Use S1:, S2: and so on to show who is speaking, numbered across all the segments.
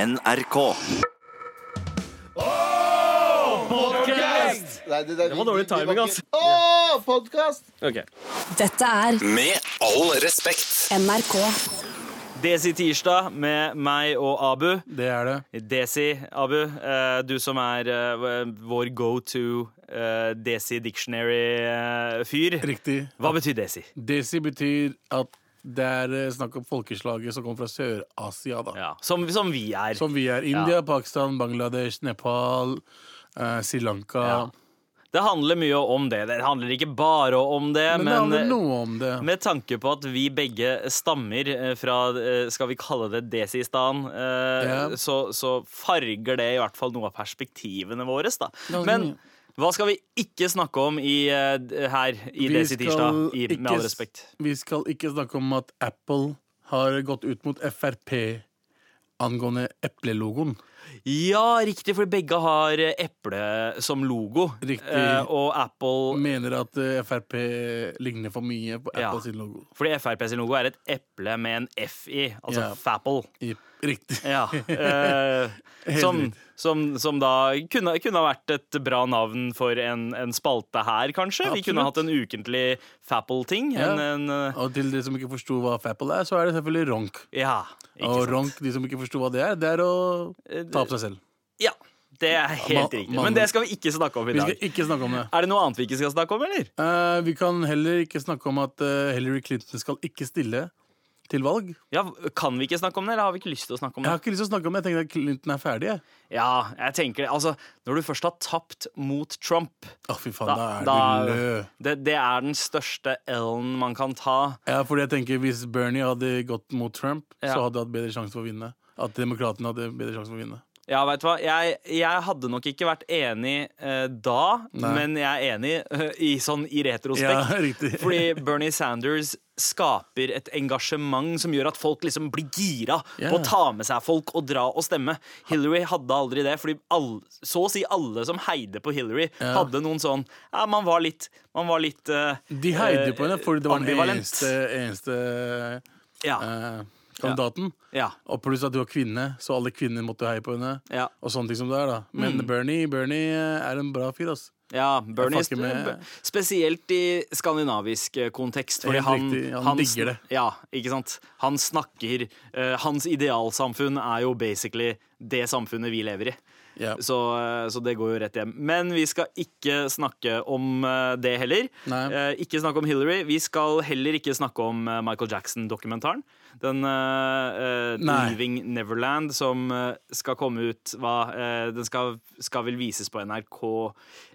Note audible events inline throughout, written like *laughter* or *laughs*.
S1: NRK.
S2: Nei, det, det,
S3: var dårlig timing, ass.
S2: Åh, podcast!
S3: Ok.
S4: Dette er
S1: Med all respekt.
S4: NRK.
S3: Desi Tirsdag med meg og Abu.
S5: Det er det.
S3: Desi, Abu, eh, du som er eh, vår go to Desi Dictionary-fyr.
S5: Riktig.
S3: Hva betyr Desi?
S5: Desi betyr at det er eh, snakk om folkeslaget som kommer fra Sør-Asia, da.
S3: Ja, som, som vi er.
S5: Som vi er. India, Pakistan, Bangladesh, Nepal, eh, Sri Lanka.
S3: Ja. Det handler mye om det. Det handler ikke bare om det,
S5: Men,
S3: men, eh,
S5: det handler noe om det.
S3: Med tanke på at vi begge stammer eh, fra eh, skal vi kalle det desistan, eh,
S5: Ja.
S3: så, så farger det i hvert fall noe av perspektivene våre. Da.
S5: Ja, det-
S3: Men hva skal vi ikke snakke om i, eh, d- her i
S5: Vi
S3: Desi
S5: skal
S3: Tirsdag? I,
S5: ikke
S3: med all
S5: s-
S3: respekt.
S5: Vi skal ikke snakke om at Apple har gått ut mot Frp angående eplelogoen.
S3: Ja, riktig, for begge har eh, eple som logo.
S5: Riktig.
S3: Eh, og Apple
S5: Mener at eh, Frp ligner for mye på
S3: Ja.
S5: Apple sin logo.
S3: Fordi Frp sin logo er et eple med en F i, altså
S5: Ja.
S3: Fapple.
S5: I, riktig.
S3: Ja. Eh,
S5: Helt
S3: som,
S5: riktig.
S3: som, som da kunne, kunne ha vært et bra navn for en, en spalte her, kanskje. Vi kunne
S5: Absolutt.
S3: hatt en ukentlig Fapple-ting.
S5: Ja.
S3: En, eh, en,
S5: *laughs* Og til de som ikke forsto hva Fapple er, så er det selvfølgelig ronk.
S3: ja, ikke
S5: Og
S3: sant. Eh,
S5: ronk, de som ikke forsto hva det er, det er å ta opp seg selv.
S3: ja, det er helt
S5: Ma-
S3: riktig.
S5: man-
S3: Men det skal vi ikke snakke om i
S5: Vi
S3: dag.
S5: skal ikke snakke om det.
S3: Er det noe annet vi ikke skal snakke om, eller?
S5: Eh, vi kan heller ikke snakke om at eh, Hillary Clinton skal ikke stille til valg.
S3: Ja, Kan vi ikke snakke om det, eller har vi ikke lyst til å snakke om
S5: Jeg
S3: det?
S5: har ikke lyst til å snakke om det. Jeg tenker at Clinton er ferdig. jeg.
S3: Ja, jeg tenker det. Altså, Når du først har tapt mot Trump
S5: Å, fy faen, da, er du lø.
S3: det, det er den største L-en man kan ta.
S5: Ja, fordi jeg tenker Hvis Bernie hadde gått mot Trump, så
S3: Ja.
S5: hadde han hatt bedre sjanse for å vinne. At demokratene hadde bedre sjanse for å vinne.
S3: Ja, vet du hva? Jeg, jeg hadde nok ikke vært enig eh, da,
S5: Nei.
S3: men jeg er enig eh, i, sånn, i
S5: Ja, *laughs*
S3: retrospekt.
S5: riktig.
S3: Fordi Bernie Sanders skaper et engasjement som gjør at folk liksom blir gira
S5: Ja.
S3: på å ta med seg folk og dra og stemme. Hillary hadde aldri det, fordi all, så å si alle som heide på Hillary,
S5: Ja.
S3: hadde noen sånn ja, Man var litt, man var litt eh,
S5: De heide på henne
S3: eh,
S5: fordi det var den
S3: ambivalent.
S5: eneste, eneste
S3: Ja.
S5: eh, kandidaten.
S3: Ja.
S5: Og pluss at du var kvinne, så alle kvinner måtte heie på henne.
S3: Ja. Mm.
S5: Og sånne ting som det er da Men Bernie, Bernie eh, er en bra fyr, ass.
S3: Ja, Bernie
S5: fucker med-
S3: Spesielt i skandinavisk eh, kontekst. Fordi
S5: Helt
S3: han,
S5: riktig, han
S3: sn-
S5: digger det.
S3: Ja, ikke sant? Han snakker eh, Hans idealsamfunn er jo basically det samfunnet vi lever i.
S5: Ja.
S3: Så, eh, så det går jo rett hjem. Men vi skal ikke snakke om eh, det heller.
S5: Nei.
S3: Eh, ikke snakke om Hillary. Vi skal heller ikke snakke om eh, Michael Jackson-dokumentaren. Den eh, eh,
S5: Nei.
S3: 'Leaving Neverland' som eh, skal komme ut hva, eh, Den skal, skal vel vises på NRK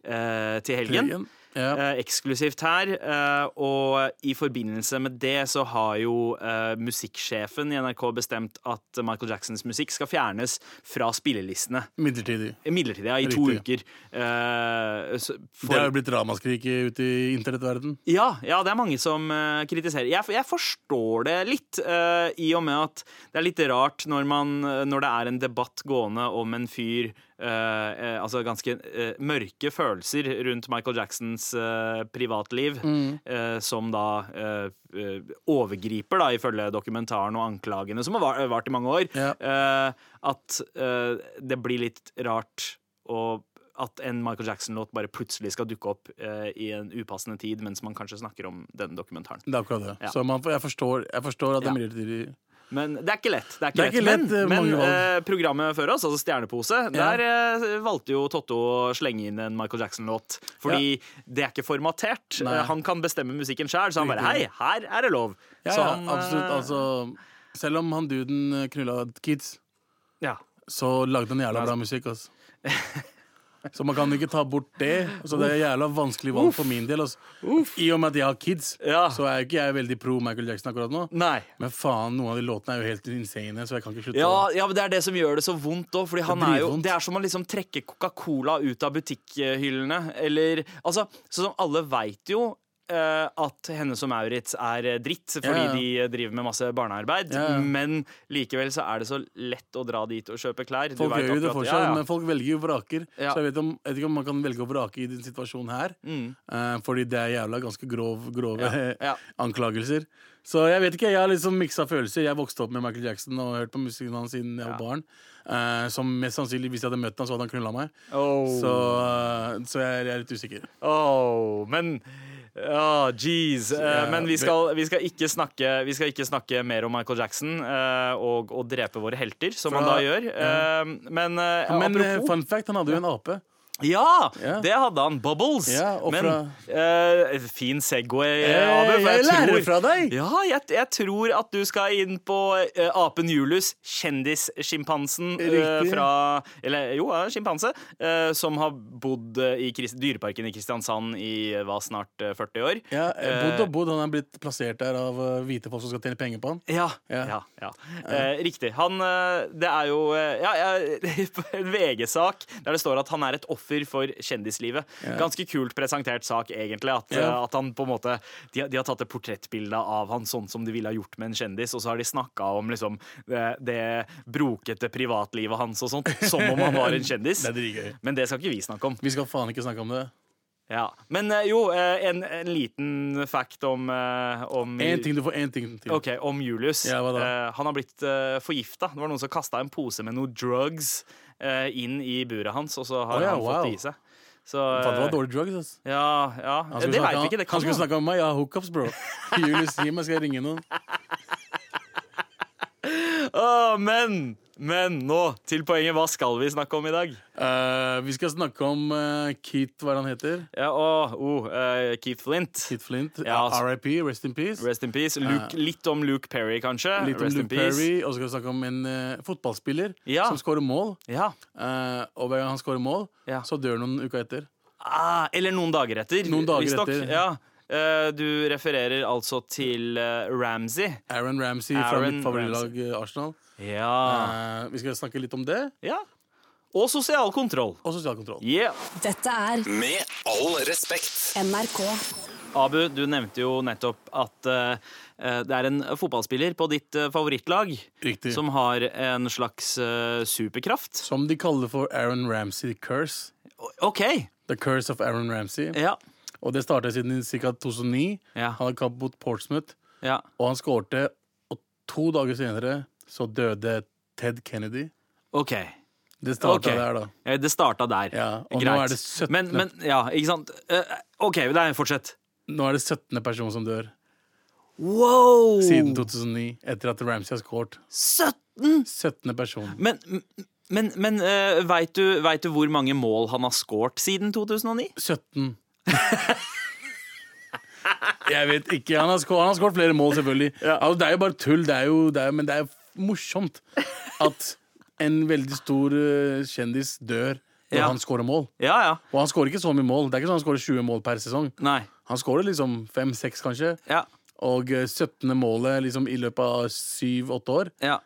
S3: eh, til helgen.
S5: Helgen, ja.
S3: Eh, eksklusivt her. eh, og i forbindelse med det så har jo eh, musikksjefen i NRK bestemt at Michael Jacksons musikk skal fjernes fra spillelistene.
S5: Midlertidig.
S3: Midlertidig, ja, i to uker.
S5: Riktig.
S3: Eh, så- for-
S5: Det har jo blitt ramaskrik i- ute i internettverden
S3: ja, ja, det er mange som eh, kritiserer. Jeg, jeg forstår det litt, eh, i og med at det er litt rart når, man, eh, når det er en debatt gående om en fyr eh, eh, Altså ganske eh, mørke følelser rundt Michael Jacksons eh, privatliv, eh, som da eh, eh, overgriper, da, ifølge dokumentaren og anklagene, som har va- vart i mange år,
S5: Ja.
S3: eh, at eh, det blir litt rart å at en Michael Jackson-låt bare plutselig skal dukke opp eh, i en upassende tid, mens man kanskje snakker om denne dokumentaren.
S5: Det er akkurat det.
S3: Ja.
S5: Så man, får- jeg, forstår, jeg forstår at det er midlertidig.
S3: Men det er ikke lett. Det er
S5: Det
S3: ikke
S5: er ikke
S3: lett,
S5: lett, eh,
S3: men
S5: mange
S3: men eh,
S5: valg.
S3: programmet før oss, altså Stjernepose,
S5: Ja.
S3: der eh, valgte jo Totto å slenge inn en Michael Jackson-låt. Fordi det er ikke formatert.
S5: Nei.
S3: Eh, han kan bestemme musikken sjøl, så han bare Hei,
S5: Riktig.
S3: her er det lov.
S5: Ja,
S3: så han,
S5: ja, absolutt.
S3: eh,
S5: Altså, selv om han duden eh, knulla kids,
S3: ja.
S5: så lagde han jævla bra musikk. ass. Så man kan ikke ta bort det. Så det er jævla vanskelig valg for min del. ass. I og med at jeg har kids,
S3: Ja.
S5: så er jo ikke jeg veldig pro Michael Jackson akkurat nå.
S3: Nei.
S5: Men faen, noen av de låtene er jo helt insane, så jeg kan ikke slutte.
S3: Ja, ja, men det er det som gjør det så vondt òg. Det,
S5: Det er
S3: er jo-
S5: dritvondt.
S3: det er som å liksom trekke Coca-Cola ut av butikkhyllene. Eller altså, sånn som alle veit jo eh, eh, at Hennes og Maurits er eh, dritt fordi
S5: Ja,
S3: de eh, driver med masse barnearbeid,
S5: Ja, ja.
S3: men likevel så er det så lett å dra dit og kjøpe klær. Du
S5: Folk
S3: vet
S5: gjør jo det
S3: akkurat-
S5: fortsatt,
S3: ja, ja.
S5: men folk velger jo vraker.
S3: Ja. Mm.
S5: Så jeg vet, om, jeg vet ikke om man kan velge å vrake i den situasjonen her. eh, fordi det er jævla ganske grov, grove
S3: ja.
S5: *laughs* anklagelser. Så jeg vet ikke, jeg har liksom miksa følelser. Jeg vokste opp med Michael Jackson og hørt på musikken hans siden jeg var barn. Eh, som mest sannsynlig, hvis jeg hadde møtt ham, så hadde han knulla meg.
S3: Oh.
S5: Så, eh, så jeg, jeg er litt usikker.
S3: Åh, Oh, men Åh, jeez. Eh, men vi skal, vi, skal ikke snakke, vi skal ikke snakke mer om Michael Jackson eh, og, og drepe våre helter, som man da
S5: Fra-
S3: gjør. Eh, men eh,
S5: Men eh,
S3: apropos
S5: fun fact, han hadde jo en ape.
S3: Ja!
S5: Ja.
S3: Det hadde han. Bubbles.
S5: Ja, og
S3: men
S5: fra-
S3: eh, Fin Segway,
S5: Eh,
S3: Abu. for
S5: jeg lærer
S3: tror-
S5: fra deg.
S3: Ja, jeg, jeg tror at du skal inn på eh, apen Julius, kjendissjimpansen eh,
S5: Riktig.
S3: fra Eller jo, ja, sjimpanse. eh, som har bodd eh, i Krist Dyreparken i Kristiansand i eh, hva, snart eh, 40 år.
S5: Ja, eh, bodd og bodd, han er blitt plassert der av eh, hvite folk som skal tjene penger på han.
S3: Ja. ja.
S5: Ja.
S3: ja, Eh, riktig. Han eh, Det er jo eh, ja, *laughs* ja, En VG-sak der det står at han er et offer for kjendislivet. Ganske kult presentert sak, egentlig. At, eh,
S5: Ja.
S3: at han på en måte de, har- de har tatt et portrettbilde av han sånn som de ville ha gjort med en kjendis, og så har de snakka om liksom det, det brokete privatlivet hans og sånt, som om han
S5: *laughs*
S3: var en kjendis.
S5: Det er dritgøy.
S3: Men det skal ikke vi snakke om.
S5: Vi skal faen ikke snakke om det.
S3: Ja. Men eh, jo, eh, en, en liten fact om, eh, om
S5: Én ting, du får én ting til.
S3: Ok, om Julius.
S5: Ja, hva da?
S3: Eh, han har blitt uh, forgifta. Det var noen som kasta en pose med noe drugs eh, inn i buret hans, og så har
S5: Å ja,
S3: han fått
S5: wow.
S3: det i seg. Så,
S5: Faen, det var
S3: eh,
S5: dårlig drugs, ass.
S3: ja, ja.
S5: Han
S3: Det veit
S5: skulle snakke-
S3: vi ikke. Det
S5: Han
S3: kan
S5: skulle
S3: jo
S5: snakke om meg. Jeg har hookups,
S3: *laughs*
S5: bro. Julius, gi meg, skal jeg ringe noen.
S3: Å, men, men nå til poenget. Hva skal vi snakke om i dag?
S5: Eh, vi skal snakke om eh, Keith, hva er det han heter?
S3: Ja, å, oh, eh, Keith Flint.
S5: Keith Flint.
S3: Ja, altså-
S5: RIP, rest in peace.
S3: Rest in peace. Luke, litt om Luke Perry, kanskje.
S5: Litt om
S3: Rest in
S5: Luke
S3: peace.
S5: Perry, og så skal vi snakke om en eh, fotballspiller
S3: Ja.
S5: som scorer mål.
S3: Ja.
S5: Eh, og hver gang han scorer mål,
S3: Ja.
S5: så dør han noen uker etter.
S3: Ah, eller noen dager etter.
S5: Noen dager
S3: visstnok.
S5: etter.
S3: Ja. Eh, du refererer altså til eh, Ramsey.
S5: Aaron Ramsey fra
S3: Aaron Ah.
S5: mitt favorittlag eh, Arsenal.
S3: Ja.
S5: Eh, vi skal snakke litt om det,
S3: Ja. Og sosial kontroll.
S5: og sosial kontroll.
S3: Yeah.
S2: Dette er
S1: Med all respekt.
S2: NRK.
S3: Abu, du nevnte jo nettopp at eh, eh, det er en fotballspiller på ditt eh, favorittlag
S5: Riktig. Som,
S3: som har en slags eh, superkraft.
S5: de kaller for Aaron Ramsey curse.
S3: OK.
S5: The curse of Aaron Ramsey.
S3: Ja.
S5: Og det startet siden ca. 2009.
S3: Ja.
S5: Han hadde kamp mot Portsmouth,
S3: ja.
S5: og han skårte. Og to dager senere så døde Ted Kennedy.
S3: OK.
S5: Det starta
S3: Ok.
S5: der, da.
S3: Eh, Det starta der.
S5: Ja, og nå er det 17.
S3: Men, men, ja, ikke sant. Eh, OK, nei, fortsett.
S5: Nå er det 17. person som dør
S3: Wow!
S5: siden 2009, etter at Ramsey har skåret.
S3: 17!
S5: 17. person.
S3: Men, men, men eh, veit du, vet du hvor mange mål han har scoret siden 2009?
S5: 17. *laughs* Jeg vet ikke. Han har skåret, han har skåret flere mål, selvfølgelig.
S3: *laughs*
S5: Altså, det er jo bare tull, det er jo, det er, men det er morsomt at en veldig stor eh, kjendis dør når
S3: Ja.
S5: han skårer mål.
S3: Ja, ja.
S5: Og han skårer ikke så mye mål. Det er ikke sånn han skårer 20 mål per sesong.
S3: Nei.
S5: Han skårer liksom 5-6, kanskje.
S3: Ja.
S5: Og eh, 17. målet liksom i løpet av 7-8 år.
S3: Ja.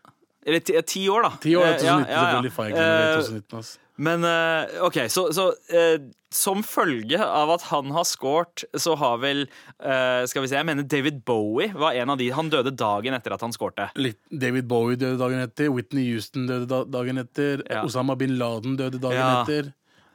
S3: Eller ti, ti år, da.
S5: 10 år
S3: Eh,
S5: er 2019, selvfølgelig. Faen, jeg glemmer det,
S3: Eh,
S5: 2019, ass.
S3: Men eh, OK, så, så eh, som følge av at han har scoret, så har vel eh, Skal vi se, jeg mener David Bowie var en av de Han døde dagen etter at han Eh, scorte.
S5: Litt- David Bowie døde dagen etter, Whitney Houston døde da dagen etter,
S3: Ja.
S5: Osama bin Laden døde dagen
S3: Ja.
S5: etter,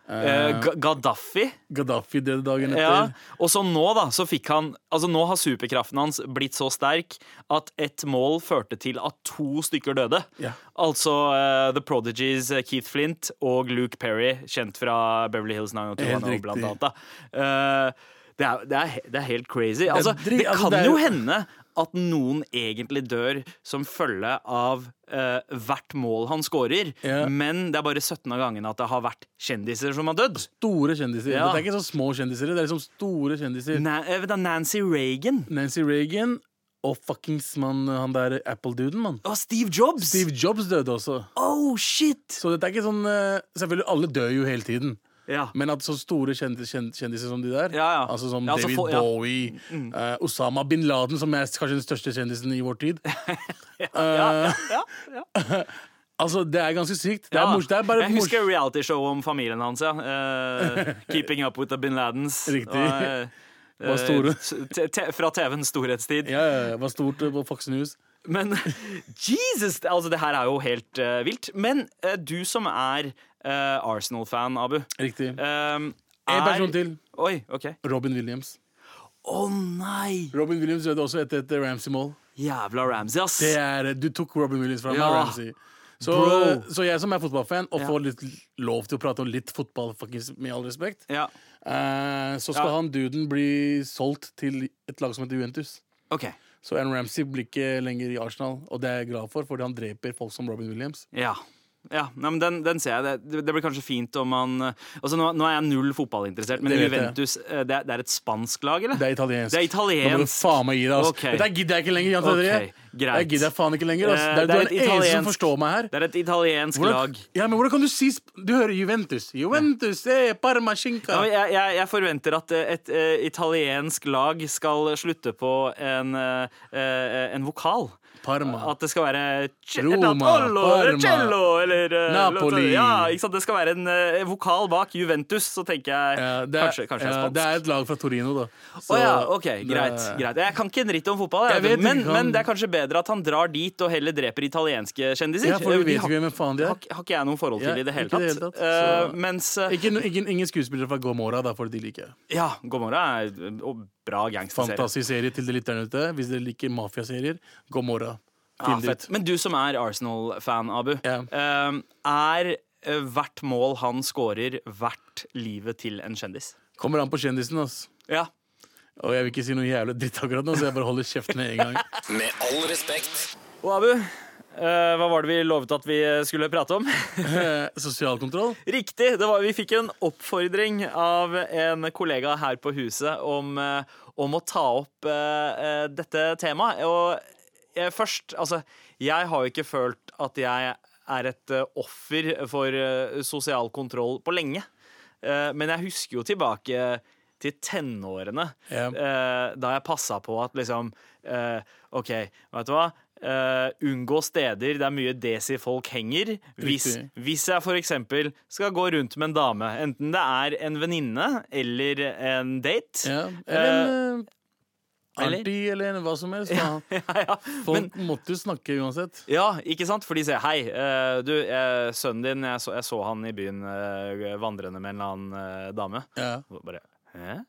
S3: Eh, Ga- Gaddafi.
S5: Gaddafi døde dagen
S3: Ja.
S5: etter.
S3: Og så nå, da, så fikk han Altså, nå har superkraften hans blitt så sterk at ett mål førte til at to stykker døde.
S5: Ja.
S3: Altså eh, The Prodigies eh, Keith Flint og Luke Perry, kjent fra Beverly Hills 90210,
S5: Helt
S3: blant
S5: riktig.
S3: annet. Da. Eh, det, er, det, er, he- det er helt crazy. Altså,
S5: dri-
S3: det
S5: altså,
S3: kan
S5: det er-
S3: jo hende at noen egentlig dør som følge av eh, hvert mål han scorer,
S5: Ja.
S3: men det er bare 17 av gangene at det har vært kjendiser som har dødd.
S5: Store kjendiser.
S3: Ja.
S5: Det er ikke så små kjendiser, det er liksom store kjendiser.
S3: Na eh, vent da, Nancy Reagan
S5: Nancy Reagan og fuckings mann, han der Apple-duden, mann.
S3: og Steve Jobs!
S5: Steve Jobs døde også.
S3: Oh, shit!
S5: Så dette er ikke sånn eh, Selvfølgelig, alle dør jo hele tiden.
S3: Ja.
S5: Men at så store kjendis, kjen- kjendiser som de der,
S3: Ja, ja.
S5: altså som
S3: Ja, altså
S5: David
S3: få- ja. Mm.
S5: Bowie, eh, Osama bin Laden, som er kanskje den største kjendisen i vår
S3: *laughs*
S5: tid Eh,
S3: ja, ja.
S5: *laughs* Altså, det er ganske sykt. Det er,
S3: Ja.
S5: mors, det er bare
S3: jeg husker
S5: mors- *laughs*
S3: realityshowet om familien hans. Ja. Eh, 'Keeping up with the bin Ladens'.
S5: Riktig.
S3: Det var, eh,
S5: Var store.
S3: eh, t- te- fra TV-ens storhetstid.
S5: Ja, ja, ja. Var stort eh, på Fox News.
S3: Men *laughs* Jesus! det- Altså, det her er jo helt eh, vilt. Men eh, du som er eh, Arsenal-fan, Abu
S5: Riktig.
S3: um,
S5: En person til.
S3: Oi, OK.
S5: Robin Williams.
S3: Å nei!
S5: Robin Williams døde også etter et Ramsey-mål.
S3: Jævla Ramsey, ass.
S5: Det er, Du tok Robin Williams fra meg,
S3: Ja.
S5: Ramsey. Så,
S3: Bro.
S5: så jeg som er fotballfan, og
S3: Ja.
S5: får litt lov til å prate om litt fotball, faktisk, med all respekt,
S3: Ja,
S5: eh, så skal
S3: Ja.
S5: han duden bli solgt til et lag som heter Juventus.
S3: OK.
S5: Så Aaron Ramsey blir ikke lenger i Arsenal, og det er jeg glad for, fordi han dreper folk som Robin Williams.
S3: Ja. ja. Nei, men den, den ser jeg. Det, det blir kanskje fint om man Altså, nå, nå er jeg null fotballinteressert, men
S5: Det vet jeg.
S3: Juventus eh, det er, det er et spansk lag, eller?
S5: Det er italiensk.
S3: Det er italiensk.
S5: Nå må du faen meg gi deg, ass.
S3: Ok.
S5: Dette gidder jeg ikke lenger, Jan Tredje.
S3: Ok, greit.
S5: Jeg gidder jeg faen ikke lenger, ass.
S3: Eh,
S5: Det er, du
S3: det er
S5: er den
S3: et
S5: eneste
S3: italiensk-
S5: som forstår meg her.
S3: Det er et italiensk
S5: Hvordan,
S3: lag.
S5: ja, men hvordan kan du si sp- Du hører Juventus. Juventus, eh, Parma, Skinka.
S3: Ja, men jeg, jeg, jeg forventer at eh, et eh, italiensk lag skal slutte på en, eh, eh, en vokal.
S5: Parma.
S3: At det skal være ce-
S5: Roma,
S3: et eller annet Ollo, eller
S5: Parma,
S3: cello, eller eh,
S5: Napoli.
S3: Ja, ikke sant? Det skal være en eh, vokal bak Juventus, så tenker jeg
S5: Ja, det, er,
S3: kanskje, kanskje det er
S5: ja,
S3: spansk.
S5: det er et lag fra Torino, da.
S3: Å
S5: Så
S3: ja, ok,
S5: det-
S3: greit, greit. Jeg kan ikke en dritt om fotball, jeg,
S5: Jeg vet
S3: men,
S5: ikke, han-
S3: men det er kanskje bedre at han drar dit og heller dreper italienske kjendiser.
S5: Ja, for vi
S3: De
S5: vet
S3: har-
S5: ikke hvem faen de
S3: har,
S5: er.
S3: ikke- har ikke jeg noe forhold til
S5: Ja,
S3: i det hele
S5: ikke
S3: tatt.
S5: i det hele tatt,
S3: Eh,
S5: så-
S3: mens eh,
S5: Ikke, no- ingen, ingen skuespillere fra Gomorra, da, for de liker jeg.
S3: Ja, Gomorra er en bra gangsterserie.
S5: Fantastisk serie til de lytterne ute. Hvis dere liker mafiaserier, Gomorra.
S3: Ja,
S5: Finn det
S3: Ah, fett.
S5: ut.
S3: Men du som er Arsenal-fan, Abu.
S5: Ja.
S3: eh, er eh, hvert mål han scorer, verdt livet til en kjendis?
S5: Kommer an på kjendisen, ass.
S3: Ja.
S5: Og jeg vil ikke si noe jævlig dritt akkurat nå, så jeg bare holder kjeft med en gang.
S3: *laughs*
S1: Med all respekt.
S3: Og Abu, eh, hva var det vi lovet at vi skulle prate om? *laughs*
S5: Eh, Sosial kontroll.
S3: Riktig. Det var, vi fikk en oppfordring av en kollega her på huset om, eh, om å ta opp eh, eh, dette temaet. Og jeg, først Altså, jeg har jo ikke følt at jeg er et eh, offer for eh, sosial kontroll på lenge. Eh, men jeg husker jo tilbake til tenårene,
S5: Ja.
S3: eh, da jeg passa på at liksom eh, OK, vet du hva? Eh, unngå steder der mye desi-folk henger. Hvis,
S5: Riktig.
S3: hvis jeg for eksempel skal gå rundt med en dame, enten det er en venninne eller en date eh,
S5: Ja.
S3: *laughs* eller-
S5: Eller en eh, anti, eller en hva som helst. faen.
S3: *laughs* ja,
S5: Folk måtte jo snakke uansett.
S3: ja, ikke sant? For de sier 'hei, eh, du, eh, sønnen din, jeg så, jeg så han i byen eh, vandrende med en eller annen eh, dame'.
S5: Ja.
S3: Og Bare 'hæ?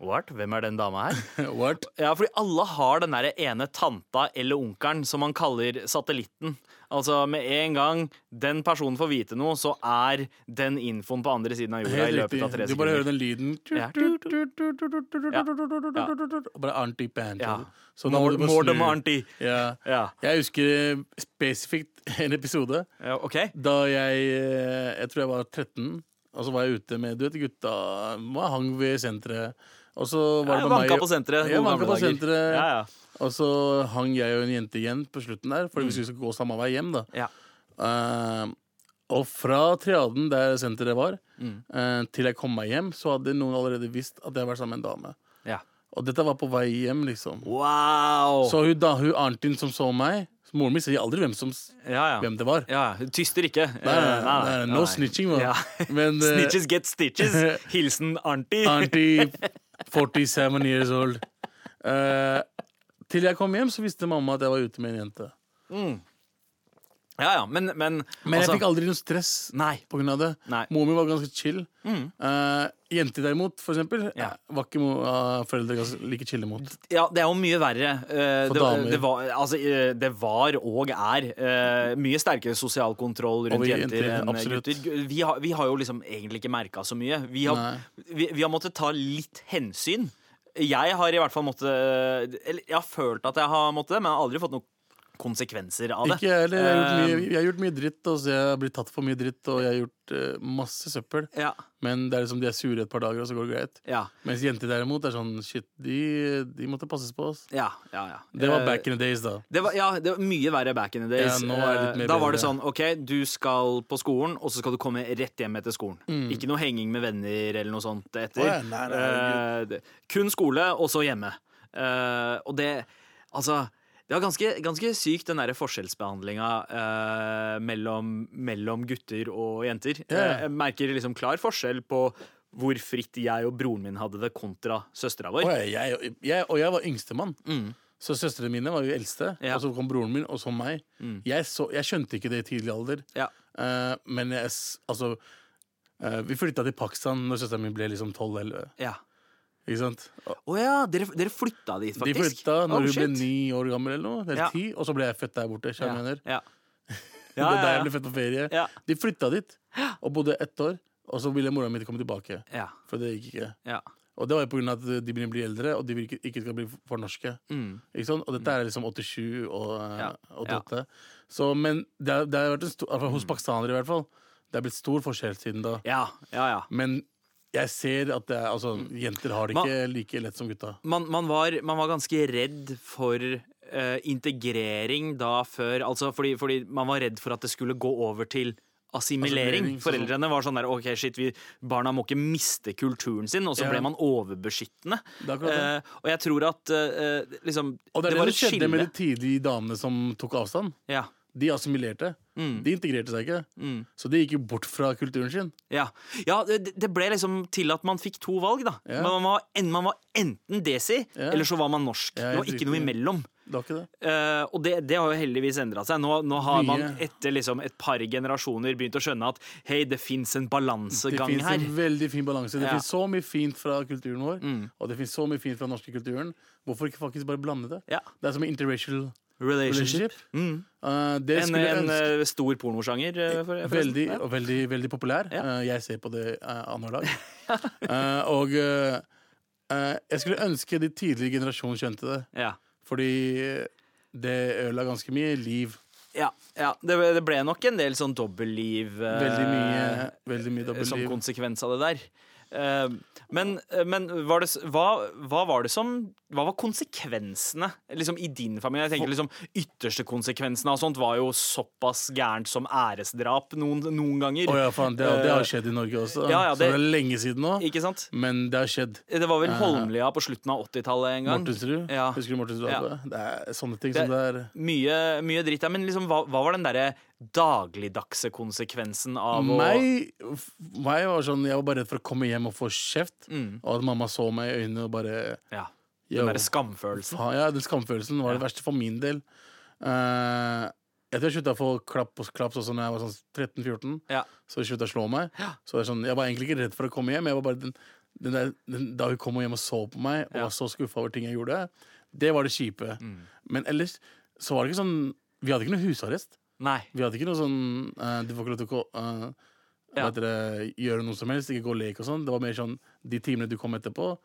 S3: What? Hvem er den dama her?'
S5: *laughs* What?
S3: Ja, fordi alle har den der ene tanta eller onkelen som man kaller satellitten. Altså Med en gang den personen får vite noe, så er den infoen på andre siden av jorda i
S5: Helt
S3: løpet av
S5: riktig.
S3: tre
S5: Du bare hører
S3: sekunder.
S5: den lyden.
S3: Ja.
S5: Og Bare anti band.
S3: Ja.
S5: Så nå må
S3: Mord-
S5: du bare
S3: Mord og
S5: snu.
S3: Arnti.
S5: Ja.
S3: Ja.
S5: Jeg husker spesifikt en episode
S3: ja, OK.
S5: da jeg eh, Jeg tror jeg var 13, og så var jeg ute med du vet, gutta. Jeg hang ved senteret. Og så var det
S3: Jeg
S5: med meg
S3: vanka på senteret.
S5: Jeg
S3: gode
S5: vanka
S3: gamle
S5: på
S3: dager.
S5: senteret.
S3: Ja, ja.
S5: Og så hang jeg og en jente igjen på slutten der, fordi vi
S3: Mm.
S5: skulle gå samme vei hjem. da
S3: Ja.
S5: Eh, Og fra triaden der senteret var,
S3: Mm.
S5: eh, til jeg kom meg hjem, så hadde noen allerede visst at jeg var sammen med en dame.
S3: Ja.
S5: Og dette var på vei hjem, liksom.
S3: Wow!
S5: Så hun, da, hun Arntin som så meg Moren min sier aldri hvem, som, s-
S3: ja, ja.
S5: hvem det var.
S3: ja. Hun tyster ikke.
S5: Nei, Eh, nei, nei, nei, no
S3: nei.
S5: snitching, man.
S3: Ja.
S5: *laughs* Men eh,
S3: Snitches get
S5: *laughs*
S3: stitches. Hilsen Arnti.
S5: Auntie 47 years old. Eh, til jeg kom hjem, så visste mamma at jeg var ute med en jente.
S3: Ja, ja, men, men,
S5: Men
S3: altså-
S5: jeg fikk aldri noe stress
S3: Nei.
S5: på grunn av det.
S3: Nei.
S5: Moren min var ganske chill. Eh, jenter derimot, for eksempel,
S3: Ja.
S5: var ikke mo eh, foreldre ganske like chille mot.
S3: Ja, det er jo mye verre. Eh,
S5: For
S3: det,
S5: damer.
S3: det, var, altså, eh, det var og er eh, mye sterkere sosial kontroll rundt
S5: Over
S3: jenter,
S5: jenter,
S3: enn
S5: absolutt.
S3: gutter. Vi har, vi har jo liksom egentlig ikke merka så mye. Vi har,
S5: Nei.
S3: vi, vi har måttet ta litt hensyn. Jeg har i hvert fall måttet eh, Eller jeg har følt at jeg har måttet det, men jeg har aldri fått noen konsekvenser av det.
S5: Ikke jeg heller. Jeg har, gjort mye, jeg har gjort mye dritt, og så jeg har blitt tatt for mye dritt, og jeg har gjort eh, masse søppel.
S3: Ja,
S5: Men det er liksom de er sure et par dager, og så går det greit.
S3: Eh, ja,
S5: Mens jenter derimot er sånn shit, de, de måtte passes på oss.
S3: ja, ja, ja.
S5: Det var
S3: Eh,
S5: back in the days, da.
S3: Det var, ja, det var mye verre back in the days.
S5: Ja, nå er det litt mer
S3: Eh, da var
S5: bedre.
S3: det sånn OK, du skal på skolen, og så skal du komme rett hjem etter skolen.
S5: Mm.
S3: Ikke noe henging med venner eller noe sånt etter.
S5: Å ja, nei, nei,
S3: Eh, det- kun skole, og så hjemme. Eh, og det Altså det var ganske, ganske sykt, den der forskjellsbehandlinga eh, mellom, mellom gutter og jenter.
S5: Ja, ja.
S3: Eh, jeg merker liksom klar forskjell på, hvor fritt jeg og broren min hadde det kontra søstera vår.
S5: Og jeg, jeg, jeg, og jeg var yngstemann. Så søstrene mine var jo eldste,
S3: Mm. Ja. Mm.
S5: og så kom broren min, og så meg. Jeg, så, jeg skjønte ikke det i tidlig alder.
S3: Ja.
S5: Eh, men jeg, s- altså eh, Vi flytta til Pakistan når søsteren min ble liksom 12-11.
S3: Ja.
S5: Ikke sant?
S3: Å
S5: Og
S3: ja, dere, dere flytta dit,
S5: De
S3: faktisk?
S5: flytta når
S3: Oh,
S5: hun ble
S3: shit.
S5: ni år gammel, eller noe, eller
S3: Ja.
S5: ti, og så ble jeg født der borte.
S3: Ja.
S5: skjønner du hva jeg mener?
S3: Ja.
S5: Det
S3: Ja,
S5: var der
S3: ja,
S5: jeg
S3: ja.
S5: ble født på ferie.
S3: Ja.
S5: De flytta dit og bodde ett år, og så ville mora mi ikke komme tilbake.
S3: Ja,
S5: For det gikk ikke.
S3: ja.
S5: Og det var jo pga. at de begynner å bli eldre, og de vil ikke, ikke skal bli for norske. Ikke sant? Og dette er liksom 87 og eh,
S3: Mm. Ja. Mm.
S5: 88. Så, men det, har- det har vært en stor, altså, hos pakistanere i hvert fall, det er blitt stor forskjell siden da.
S3: ja, ja, ja.
S5: Men jeg ser at det er, altså, jenter har det
S3: Mm. Ma-
S5: ikke like lett som gutta.
S3: man, man, var, man var ganske redd for eh, integrering da før altså fordi, fordi man var redd for at det skulle gå over til assimilering.
S5: Assimilering, sånn som-
S3: Foreldrene var sånn der OK, shit, vi, barna må ikke miste kulturen sin. Og så
S5: Ja.
S3: ble man overbeskyttende.
S5: Det er akkurat det.
S3: Eh, og jeg tror at eh, liksom
S5: Og det er det,
S3: var
S5: som skjedde med de tidlige damene som tok avstand.
S3: Ja.
S5: De assimilerte.
S3: Mm.
S5: De integrerte seg ikke. Så de gikk jo bort fra kulturen sin.
S3: Ja, ja det, det ble liksom til at man fikk to valg, da.
S5: Ja.
S3: Man, var, en, man var enten desi,
S5: Ja.
S3: eller så var man norsk.
S5: Ja,
S3: det var
S5: helt
S3: ikke noe
S5: riktig.
S3: imellom.
S5: Det var ikke det.
S3: Eh, og det, det har jo heldigvis endra seg. Nå, nå har man
S5: Mye.
S3: etter liksom et par generasjoner begynt å skjønne at hei, det fins en
S5: Det
S3: balansegang
S5: finnes
S3: her.
S5: en veldig fin balanse. Det
S3: Ja. Mm.
S5: finnes så mye fint fra kulturen vår, og det finnes så mye fint fra den norske kulturen. Hvorfor ikke faktisk bare blande det?
S3: Ja.
S5: Det er som en interracial
S3: Relationship. Mm.
S5: relationship. Uh, det
S3: En,
S5: skulle jeg
S3: en
S5: ønske
S3: eh, stor pornosjanger. eh, for- forresten.
S5: Veldig,
S3: Ja.
S5: og veldig, veldig populær.
S3: Ja.
S5: Uh, jeg ser på det
S3: *laughs*
S5: uh, annenhver dag. uh, og uh, uh, jeg skulle ønske de tidlige generasjonene skjønte det,
S3: Ja.
S5: fordi det ødela ganske mye liv.
S3: Ja, ja. Det, ble- det ble nok en del sånn dobbeltliv eh,
S5: Veldig mye, veldig mye
S3: som
S5: dobbeltliv.
S3: konsekvens av det der. Eh, men men var det, s- hva, hva var det som Hva var konsekvensene liksom, i din familie? Jeg tenker liksom Ytterste konsekvensene av sånt var jo såpass gærent som æresdrap noen, noen ganger.
S5: Å ja, faen. Det, det har skjedd i Norge også.
S3: Eh, Ja, ja, det-
S5: Så det er lenge siden nå,
S3: Ikke sant?
S5: men det har skjedd.
S3: Det var vel Holmlia på slutten av 80-tallet en gang.
S5: Mortensrud.
S3: Ja.
S5: Eh. Husker du Mortensrud?
S3: Ja.
S5: Alpe? Det er sånne ting som det er
S3: Mye, mye dritt der, men liksom, hva, hva var den derre dagligdagse konsekvensen av å
S5: meg, f- meg var sånn, Jeg var bare redd for å komme hjem og få kjeft, og at mamma så meg i øynene og bare
S3: Ja,
S5: yo,
S3: den Mm. derre skamfølelsen.
S5: faen, Ja, den skamfølelsen var det verste for min del. Eh, jeg tror jeg slutta å få klapp og klaps også når jeg var sånn 13-14.
S3: Ja.
S5: Så slutta å slå meg. Så det er sånn, Jeg var egentlig ikke redd for å komme hjem. Jeg var bare den, den der, den, da hun kom hjem og så på meg, og
S3: Ja. Mm.
S5: var så skuffa over ting jeg gjorde, det var det kjipe. Men ellers så var det ikke sånn Vi hadde ikke noe husarrest.
S3: Nei.
S5: Vi hadde ikke noe sånn eh, Du får ikke lov til å gå, eh, hva
S3: Ja.
S5: heter det, gjøre noe som helst, ikke gå og leke og sånn. Det var mer sånn de timene du kom etterpå.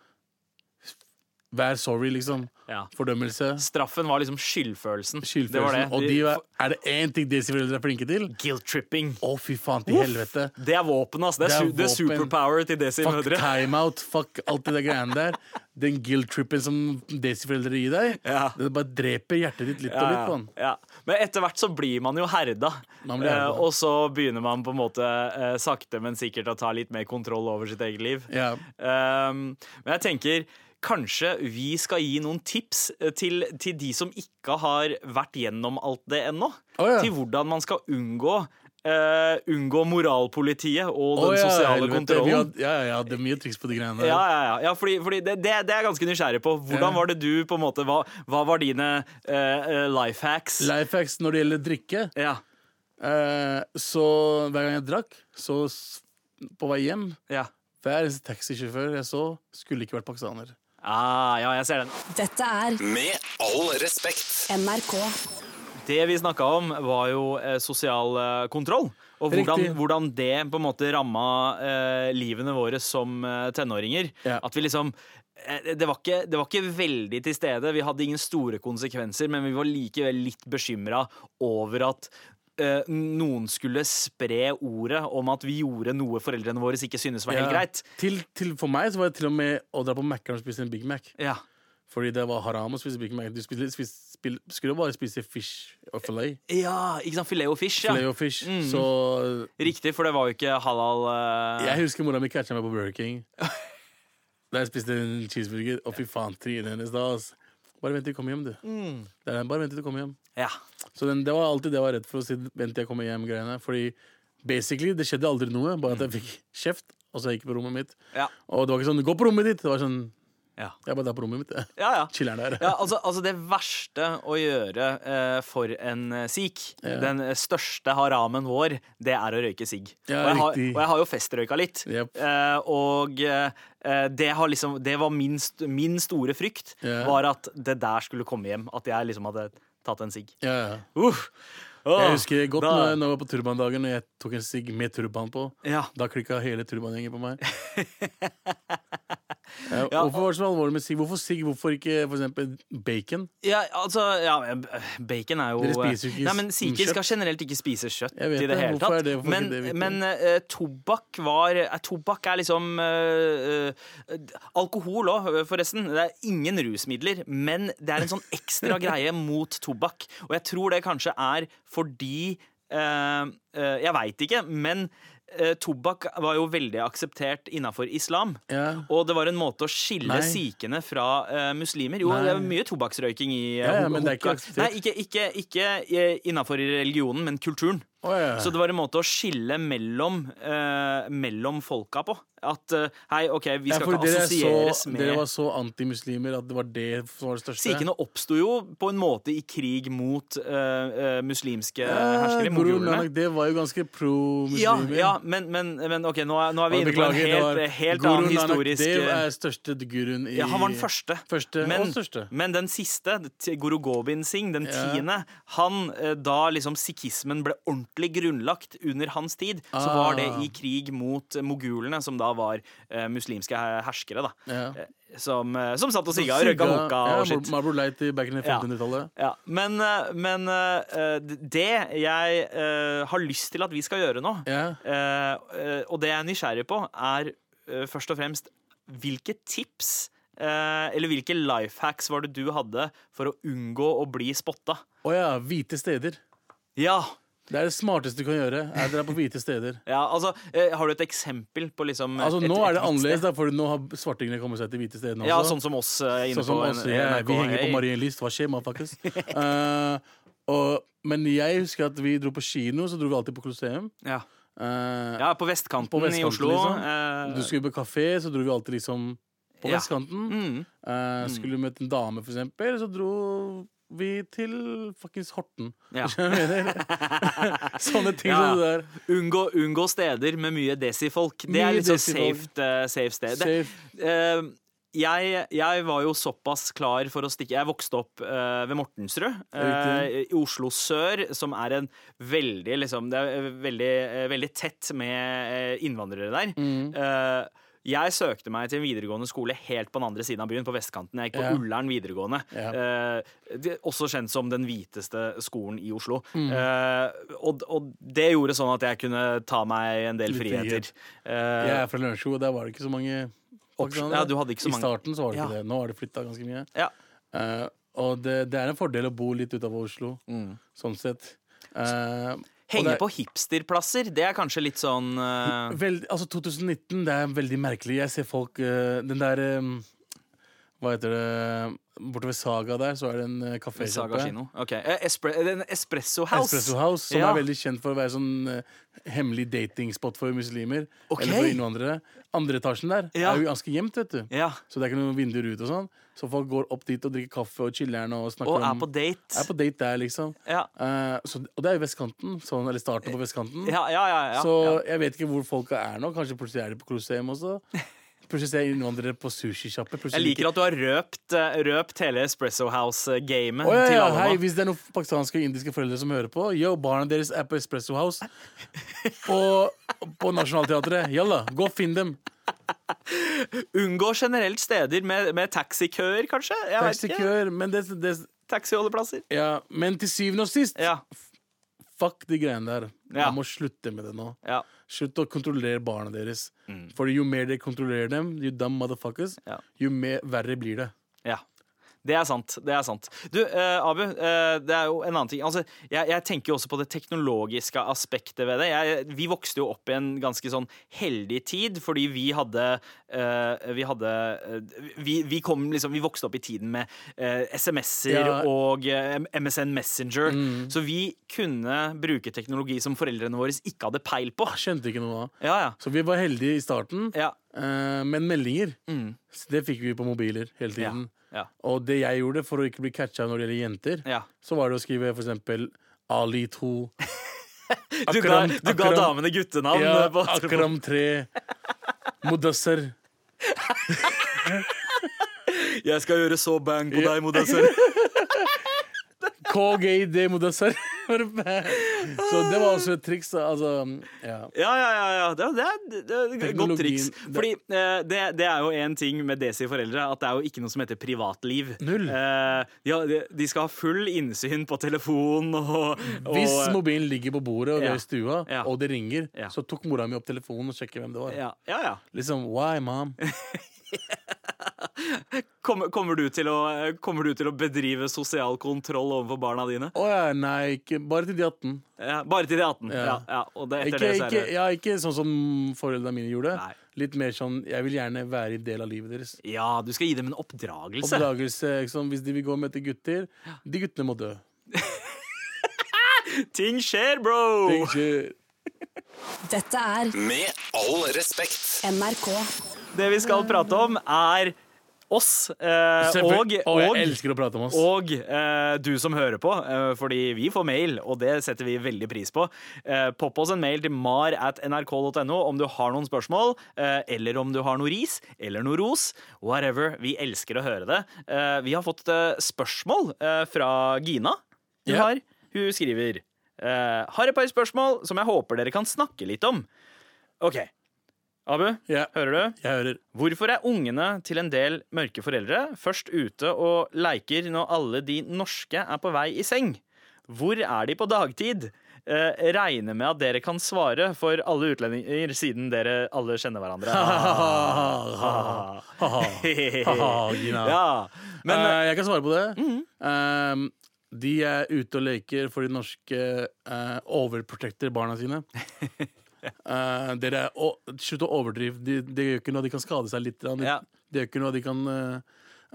S5: Vær sorry, liksom.
S3: Ja.
S5: Fordømmelse.
S3: Straffen var liksom skyldfølelsen.
S5: Skyldfølelsen.
S3: Det var det.
S5: Og de var, er det én ting disse foreldre er flinke til?
S3: Guilt-tripping.
S5: Å, fy faen til helvete.
S3: Det er våpen, ass. Det
S5: Det
S3: er,
S5: er
S3: su det er
S5: våpen.
S3: superpower til Desi
S5: Fuck
S3: mødre.
S5: timeout, fuck alt det der greiene der. Den guilt-trippen som Daisy-foreldre gir deg,
S3: Ja.
S5: det bare dreper hjertet ditt litt og litt.
S3: Ja,
S5: Man.
S3: ja. Men etter hvert så blir man jo herda.
S5: Man blir herda.
S3: Eh, og så begynner man på en måte eh, sakte, men sikkert å ta litt mer kontroll over sitt eget liv.
S5: Ja.
S3: Um, men jeg tenker Kanskje vi skal gi noen tips eh, til, til de som ikke har vært gjennom alt det ennå.
S5: Å ja.
S3: Til hvordan man skal unngå eh, Unngå moralpolitiet og den
S5: Å, ja,
S3: sosiale
S5: helvete. Vi
S3: kontrollen.
S5: hadde- Ja, ja, ja, det er mye triks på de greiene der.
S3: Ja, ja, ja. ja fordi, fordi det, det, det er jeg ganske nysgjerrig på. Hvordan
S5: Ja.
S3: var det du på en måte Hva, hva var dine eh, life hacks?
S5: Life hacks når det gjelder drikke.
S3: ja,
S5: Eh, så hver gang jeg drakk, så s- på vei hjem
S3: ja.
S5: Hver eneste taxisjåfør jeg så, skulle ikke vært pakistaner.
S3: Ah, ja, jeg ser den.
S2: Dette er
S1: Med all respekt.
S2: NRK.
S3: Det vi snakka om, var jo eh, sosial eh, kontroll. Og hvordan,
S5: Riktig.
S3: hvordan det på en måte ramma eh, livene våre som eh, tenåringer.
S5: Ja.
S3: At vi liksom eh, det var, ikke, det var ikke veldig til stede. Vi hadde ingen store konsekvenser, men vi var likevel litt bekymra over at eh, noen skulle spre ordet om at vi gjorde noe foreldrene våre ikke syntes var helt
S5: Ja.
S3: greit.
S5: Til, til, for meg så var det til og med å dra på Mækkern og spise en Big Mac.
S3: Ja.
S5: Fordi det var haram å spise Big Mac. Du spiste, spiste, spil- skulle jo bare spise fish og filet.
S3: ja, ikke sant? Filet og fish, ja. Mm.
S5: Filet og fish. Så
S3: Riktig, for det var jo ikke halal eh,
S5: jeg husker mora mi catcha meg på Burger King.
S3: *laughs*
S5: Da jeg spiste en cheeseburger. Å, fy faen, trynet hennes da. ass. Bare vent til du kommer hjem, du.
S3: Mm.
S5: Det er den, bare vent til du kommer hjem.
S3: ja.
S5: Så den, det var alltid det jeg var redd for å si 'vent til jeg kommer hjem'-greiene. Fordi Basically, det skjedde aldri noe, bare at jeg fikk kjeft. Og så gikk jeg på rommet mitt.
S3: Mm. Ja.
S5: Og det var ikke sånn 'gå på rommet ditt'. Det var sånn
S3: Ja.
S5: 'jeg bare er på rommet mitt',
S3: *laughs*
S5: jeg.
S3: Ja, ja.
S5: Chiller'n der.
S3: Ja, altså, altså Det verste å gjøre eh, for en eh, sikh, den eh, største haramen vår, det er å røyke sigg.
S5: Ja,
S3: og, jeg har-
S5: riktig.
S3: og jeg har jo festrøyka litt.
S5: Jep.
S3: Eh, og eh, det, har liksom, det var min, st min store frykt,
S5: Ja.
S3: var at det der skulle komme hjem. At jeg liksom hadde tatt en sigg.
S5: Ja, ja.
S3: Uff. Åh,
S5: Jeg husker godt
S3: da-
S5: når, når jeg var på turbandagen og jeg tok en sigg med turban på.
S3: Ja.
S5: Da klikka hele turbangjengen
S3: *laughs*
S5: på meg. ja, hvorfor var det så alvorlig med sigg? Hvorfor sigg? Hvorfor ikke for eksempel bacon?
S3: Ja, altså ja, Bacon er jo eh,
S5: Dere spiser jo ikke
S3: Nei, men Sikher skal
S5: kjøtt.
S3: generelt ikke spise kjøtt
S5: Jeg vet
S3: i det
S5: det.
S3: hele
S5: Hvorfor er
S3: tatt.
S5: det- hvorfor
S3: men
S5: ikke det, Victor?
S3: men eh, tobakk var eh, Tobakk er liksom eh, eh, Alkohol òg, forresten. Det er ingen rusmidler, men det er en sånn
S5: *laughs*
S3: ekstra greie mot tobakk. Og jeg tror det kanskje er fordi eh, eh, Jeg veit ikke, men eh, tobakk var jo veldig akseptert innafor islam.
S5: Ja.
S3: Og det var en måte å skille
S5: Nei.
S3: sikhene fra eh, muslimer. Jo,
S5: Nei.
S3: det er mye tobakksrøyking i
S5: Ja, ja, men det er ikke
S3: Hoka-
S5: akseptert.
S3: Nei, ikke, ikke, ikke innafor religionen, men kulturen.
S5: Å, ja.
S3: Så det var en måte å skille mellom, eh, mellom folka på. At eh, hei, OK, vi
S5: Ja,
S3: skal
S5: for
S3: ikke
S5: dere, er
S3: assosieres
S5: så, dere
S3: med
S5: var så antimuslimer at det var det som var det største?
S3: Sikhene oppsto jo på en måte i krig mot eh, eh, muslimske herskere,
S5: Eh, bror
S3: mongolerne.
S5: Nanak, det var jo ganske
S3: Ja,
S5: pro-muslimer.
S3: ja, men, men, men OK, nå er, nå er vi
S5: Og
S3: inne på en
S5: beklager, det var-
S3: helt, helt
S5: Guru
S3: annen
S5: Nanak
S3: historisk
S5: Dev
S3: eh,
S5: er største guruen i
S3: Ja, han var den første.
S5: Første
S3: men,
S5: og største.
S3: men den siste, t- Guru Gobind Singh, den tiende, han eh, da liksom sikhismen ble ordentlig grunnlagt under hans tid, så
S5: Ah.
S3: var det i krig mot eh, mogulene, som da var eh, muslimske he- herskere, da.
S5: Ja.
S3: Eh, Som, eh, som satt og sigga og røyka hoka og
S5: ja,
S3: shit.
S5: Marble Light i back in the
S3: Ja.
S5: 1500-tallet.
S3: Ja, men, eh, men eh, eh, det jeg eh, har lyst til at vi skal gjøre nå,
S5: Ja.
S3: eh, eh, og det jeg er nysgjerrig på, er eh, først og fremst hvilke tips eh, eller hvilke life hacks var det du hadde for å unngå å bli spotta?
S5: Å ja, hvite steder.
S3: Ja,
S5: Det er det smarteste du kan gjøre. Er dere er på hvite steder.
S3: ja altså, eh, har du et eksempel på liksom
S5: Altså
S3: et,
S5: Nå
S3: et
S5: er det
S3: hvitt sted?
S5: annerledes, da, for nå har svartingene kommet seg til hvite stedene også.
S3: Ja, sånn som oss eh, er inne
S5: Sånn som
S3: på
S5: oss, ja,
S3: NRK.
S5: vi henger på
S3: Hey.
S5: Marienlyst. Hva skjer,
S3: *laughs*
S5: motherfuckers? Eh, og- men jeg husker at vi dro på kino, så dro vi alltid på Colosseum.
S3: Ja.
S5: Eh,
S3: ja, på vestkanten,
S5: På vestkanten,
S3: i Oslo.
S5: liksom.
S3: eh,
S5: Du skulle på kafé, så dro vi alltid liksom på
S3: Ja.
S5: vestkanten.
S3: mm.
S5: Eh, skulle vi møte en dame, for eksempel, så dro vi til fuckings Horten.
S3: Ja.
S5: Skjønner du hva jeg mener? *laughs* Sånne ting
S3: Ja, ja.
S5: som det der.
S3: Unngå, unngå steder med mye desifolk. Det
S5: Mye
S3: er litt sånn
S5: desifolk.
S3: safe, eh, safe sted. Det-
S5: Safe.
S3: eh, jeg, jeg var jo såpass klar for å stikke Jeg vokste opp eh, ved Mortensrud eh, i Oslo sør, som er en veldig liksom, Det er veldig, eh, veldig tett med eh, innvandrere der.
S5: Mm.
S3: Eh, jeg søkte meg til en videregående skole helt på den andre siden av byen, på vestkanten. Jeg gikk på
S5: Ja.
S3: Ullern videregående.
S5: Ja.
S3: Eh, det, også kjent som den hviteste skolen i Oslo.
S5: Mm.
S3: Eh, og, og det gjorde sånn at jeg kunne ta meg en del
S5: Litt
S3: friheter.
S5: frihet.
S3: Eh,
S5: Jeg er fra Lørenskog, og der var det ikke så mange pakistanere.
S3: Ja, du hadde ikke så
S5: I
S3: mange.
S5: starten så var det ikke
S3: Ja.
S5: det. Nå har det flytta ganske mye.
S3: ja.
S5: Eh, og det, det er en fordel å bo litt utover Oslo, sånn sett. Eh, og
S3: Mm. Henge
S5: det er
S3: på hipsterplasser, det er kanskje litt sånn eh,
S5: veld- altså 2019, det er veldig merkelig. Jeg ser folk eh, Den der eh, Hva heter det Borte ved Saga der, så er det en uh,
S3: Saga
S5: kafésjappe.
S3: kino. Ok. Eh, espre en espresso house.
S5: Espresso House, som
S3: Ja.
S5: er veldig kjent for å være sånn eh, hemmelig datingspot for muslimer.
S3: Ok.
S5: Eller for innvandrere. Andre etasjen der
S3: Ja.
S5: er jo ganske gjemt, vet du.
S3: Ja.
S5: Så det er ikke noen vinduer ut og sånn. Så folk går opp dit og drikker kaffe og chiller'n og snakker
S3: Og er
S5: om
S3: på date.
S5: Um, Er på date der, liksom.
S3: Ja.
S5: Eh, så, og det er jo vestkanten. Sånn, eller starten på vestkanten.
S3: Ja, ja, ja, ja.
S5: så
S3: ja.
S5: jeg vet ikke hvor folka er nå. Kanskje plutselig er de på Colosseum
S3: *laughs*
S5: også. Plutselig ser jeg innvandrere på sushisjappe.
S3: Jeg liker at du har røpt, eh, røpt hele Espresso House-gamet
S5: Å, ja,
S3: til
S5: ja.
S3: alle.
S5: Hei,
S3: nå.
S5: hvis det er noen pakistanske og indiske foreldre som hører på, yo, barna deres er på Espresso
S3: *laughs*
S5: House på, på Nationaltheatret. Jalla, gå og finn dem.
S3: Unngå generelt steder med, med taxikøer, kanskje? Jeg vet ikke.
S5: Taxikøer. Men, det, det,
S3: Taxiholdeplasser.
S5: ja. men til syvende og sist,
S3: Ja.
S5: fuck de greiene der.
S3: Ja.
S5: Man må slutte med det nå.
S3: ja.
S5: Slutt å kontrollere barna deres. For jo mer dere kontrollerer dem, you dumb motherfuckers,
S3: Mm. Ja.
S5: jo mer verre blir det.
S3: Ja. Det er sant. det er sant Du, eh, Abu, eh, det er jo en annen ting. Altså, jeg, jeg tenker jo også på det teknologiske aspektet ved det. Jeg, vi vokste jo opp i en ganske sånn heldig tid, fordi vi hadde eh, Vi hadde eh, vi, vi, kom liksom, vi vokste opp i tiden med eh, SMS-er
S5: Ja. Mm.
S3: og eh, MSN Messenger. Så vi kunne bruke teknologi som foreldrene våre ikke hadde peil på.
S5: Skjønte ikke noe av.
S3: Ja, ja.
S5: Så vi var heldige i starten,
S3: Ja, Mm.
S5: eh, men meldinger så Det fikk vi på mobiler hele
S3: ja,
S5: tiden.
S3: ja,
S5: Og det jeg gjorde for å ikke bli catcha når det gjelder jenter,
S3: ja.
S5: så var det å skrive for eksempel Ali 2.
S3: *laughs* Du ga,
S5: Akram-
S3: du ga
S5: Akram-
S3: damene guttenavn.
S5: Ja,
S3: eh, på-
S5: Akram 3. Mudasser.
S3: Jeg skal gjøre så bang på
S5: Ja.
S3: deg, Modasser.
S5: KGD *laughs* Mudasser. så det var også et triks. da, Altså, ja.
S3: Ja, ja, ja, ja. Det, det, er- det, det er et godt triks.
S5: Teknologien-
S3: Fordi eh, det, det er jo en ting med Desi-foreldre, at det er jo ikke noe som heter privatliv.
S5: Null.
S3: Eh, de, har- de- de skal ha full innsyn på telefon og, og eh,
S5: Hvis mobilen ligger på bordet og vi
S3: Ja.
S5: er i stua,
S3: Ja.
S5: og det ringer,
S3: Ja.
S5: så tok mora mi opp telefonen og sjekket hvem det var.
S3: ja, ja, ja.
S5: Liksom, why, mom? *laughs*
S3: Kommer, kommer, du til å, kommer du til å bedrive sosial kontroll overfor barna dine?
S5: Å ja, nei, ikke, bare til de 18.
S3: Ja, bare til de er 18. Ja.
S5: Ja.
S3: Ja, og det, etter
S5: Ikke,
S3: det så er
S5: ikke,
S3: det
S5: ja, ikke sånn som foreldrene mine gjorde.
S3: Nei.
S5: Litt mer sånn jeg vil gjerne være i del av livet deres.
S3: Ja, du skal gi dem en oppdragelse.
S5: Oppdragelse, liksom, Hvis de vil gå og møte gutter De guttene må dø.
S3: *laughs* Ting skjer, bro!
S5: Det er ikke-
S2: Dette er
S1: Med all respekt.
S2: NRK.
S3: Det vi skal prate om, er oss. Eh, og,
S5: Selvfølgelig. Å,
S3: og,
S5: jeg elsker å prate om oss.
S3: og eh, du som hører på, eh, fordi vi får mail, og det setter vi veldig pris på. Eh, popp oss en mail til mar at nrk.no om du har noen spørsmål, eh, eller om du har noe ris, eller noe ros. Whatever. Vi elsker å høre det. Eh, vi har fått eh, spørsmål eh, fra Gina. Hun,
S5: Ja.
S3: har, hun skriver eh, Har et par spørsmål som jeg håper dere kan snakke litt om. OK. Abu,
S5: Ja,
S3: hører du?
S5: jeg hører.
S3: Hvorfor er ungene til en del mørke foreldre først ute og leker når alle de norske er på vei i seng? Hvor er de på dagtid? Eh, regner med at dere kan svare for alle utlendinger, siden dere alle kjenner hverandre. *laughs*
S5: Ah, ah, Gina.
S3: ja. Men Mhm.
S5: Eh, jeg kan svare på det. Eh, de er ute og leker fordi norske uh, overprotecter barna sine.
S3: *laughs*
S5: Eh, dere er å- Slutt å overdrive. De, de gjør ikke noe, de kan skade seg litt. De,
S3: Ja.
S5: de gjør ikke noe, de kan eh,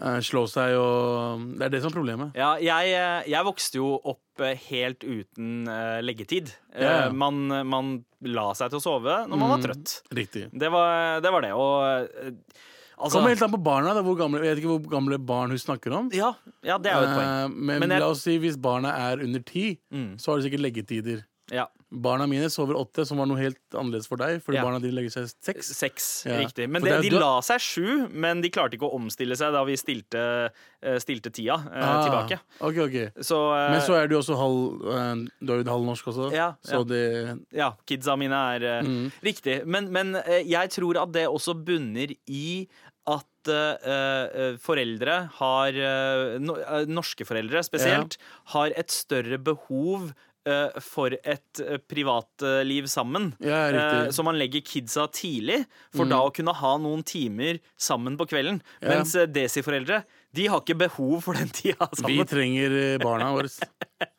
S5: eh, slå seg og mm, Det er det som er problemet.
S3: Ja, jeg, eh, jeg vokste jo opp eh, helt uten eh, leggetid. Eh,
S5: Ja, ja.
S3: Man, man la seg til å sove når man var trøtt.
S5: Riktig.
S3: Det var det. Var det. Og eh, altså
S5: Kommer helt an på barna. Da, hvor gamle, jeg vet ikke hvor gamle barn hun snakker om.
S3: ja, ja, det er jo et poeng.
S5: Eh, men
S3: Men jeg- Mm.
S5: la oss si hvis barna er under ti, så har de sikkert leggetider.
S3: Ja.
S5: Barna mine sover åtte, som var noe helt annerledes for deg. Fordi
S3: Ja.
S5: barna dine legger seg seks.
S3: Seks,
S5: Ja.
S3: riktig. Men
S5: For
S3: det,
S5: det er
S3: de
S5: da-
S3: la seg sju, men de klarte ikke å omstille seg da vi stilte, eh, stilte tida eh,
S5: Ah,
S3: tilbake.
S5: ok, ok.
S3: Så, eh,
S5: Men så er du også halv eh, Du er jo halv norsk også,
S3: Ja, ja.
S5: så det
S3: ja, kidsa mine er eh,
S5: Mm.
S3: riktig. Men, men eh, jeg tror at det også bunner i at eh, eh, foreldre har eh, no, eh, Norske foreldre spesielt har et større behov eh, for et eh, privatliv sammen.
S5: Ja, riktig. Mm.
S3: Eh, Så man legger kidsa tidlig, for da å kunne ha noen timer sammen på kvelden.
S5: Ja.
S3: Mens eh, Desi-foreldre de har ikke behov for den tida
S5: Vi
S3: sammen.
S5: trenger eh, barna
S3: *laughs*
S5: våre. *laughs*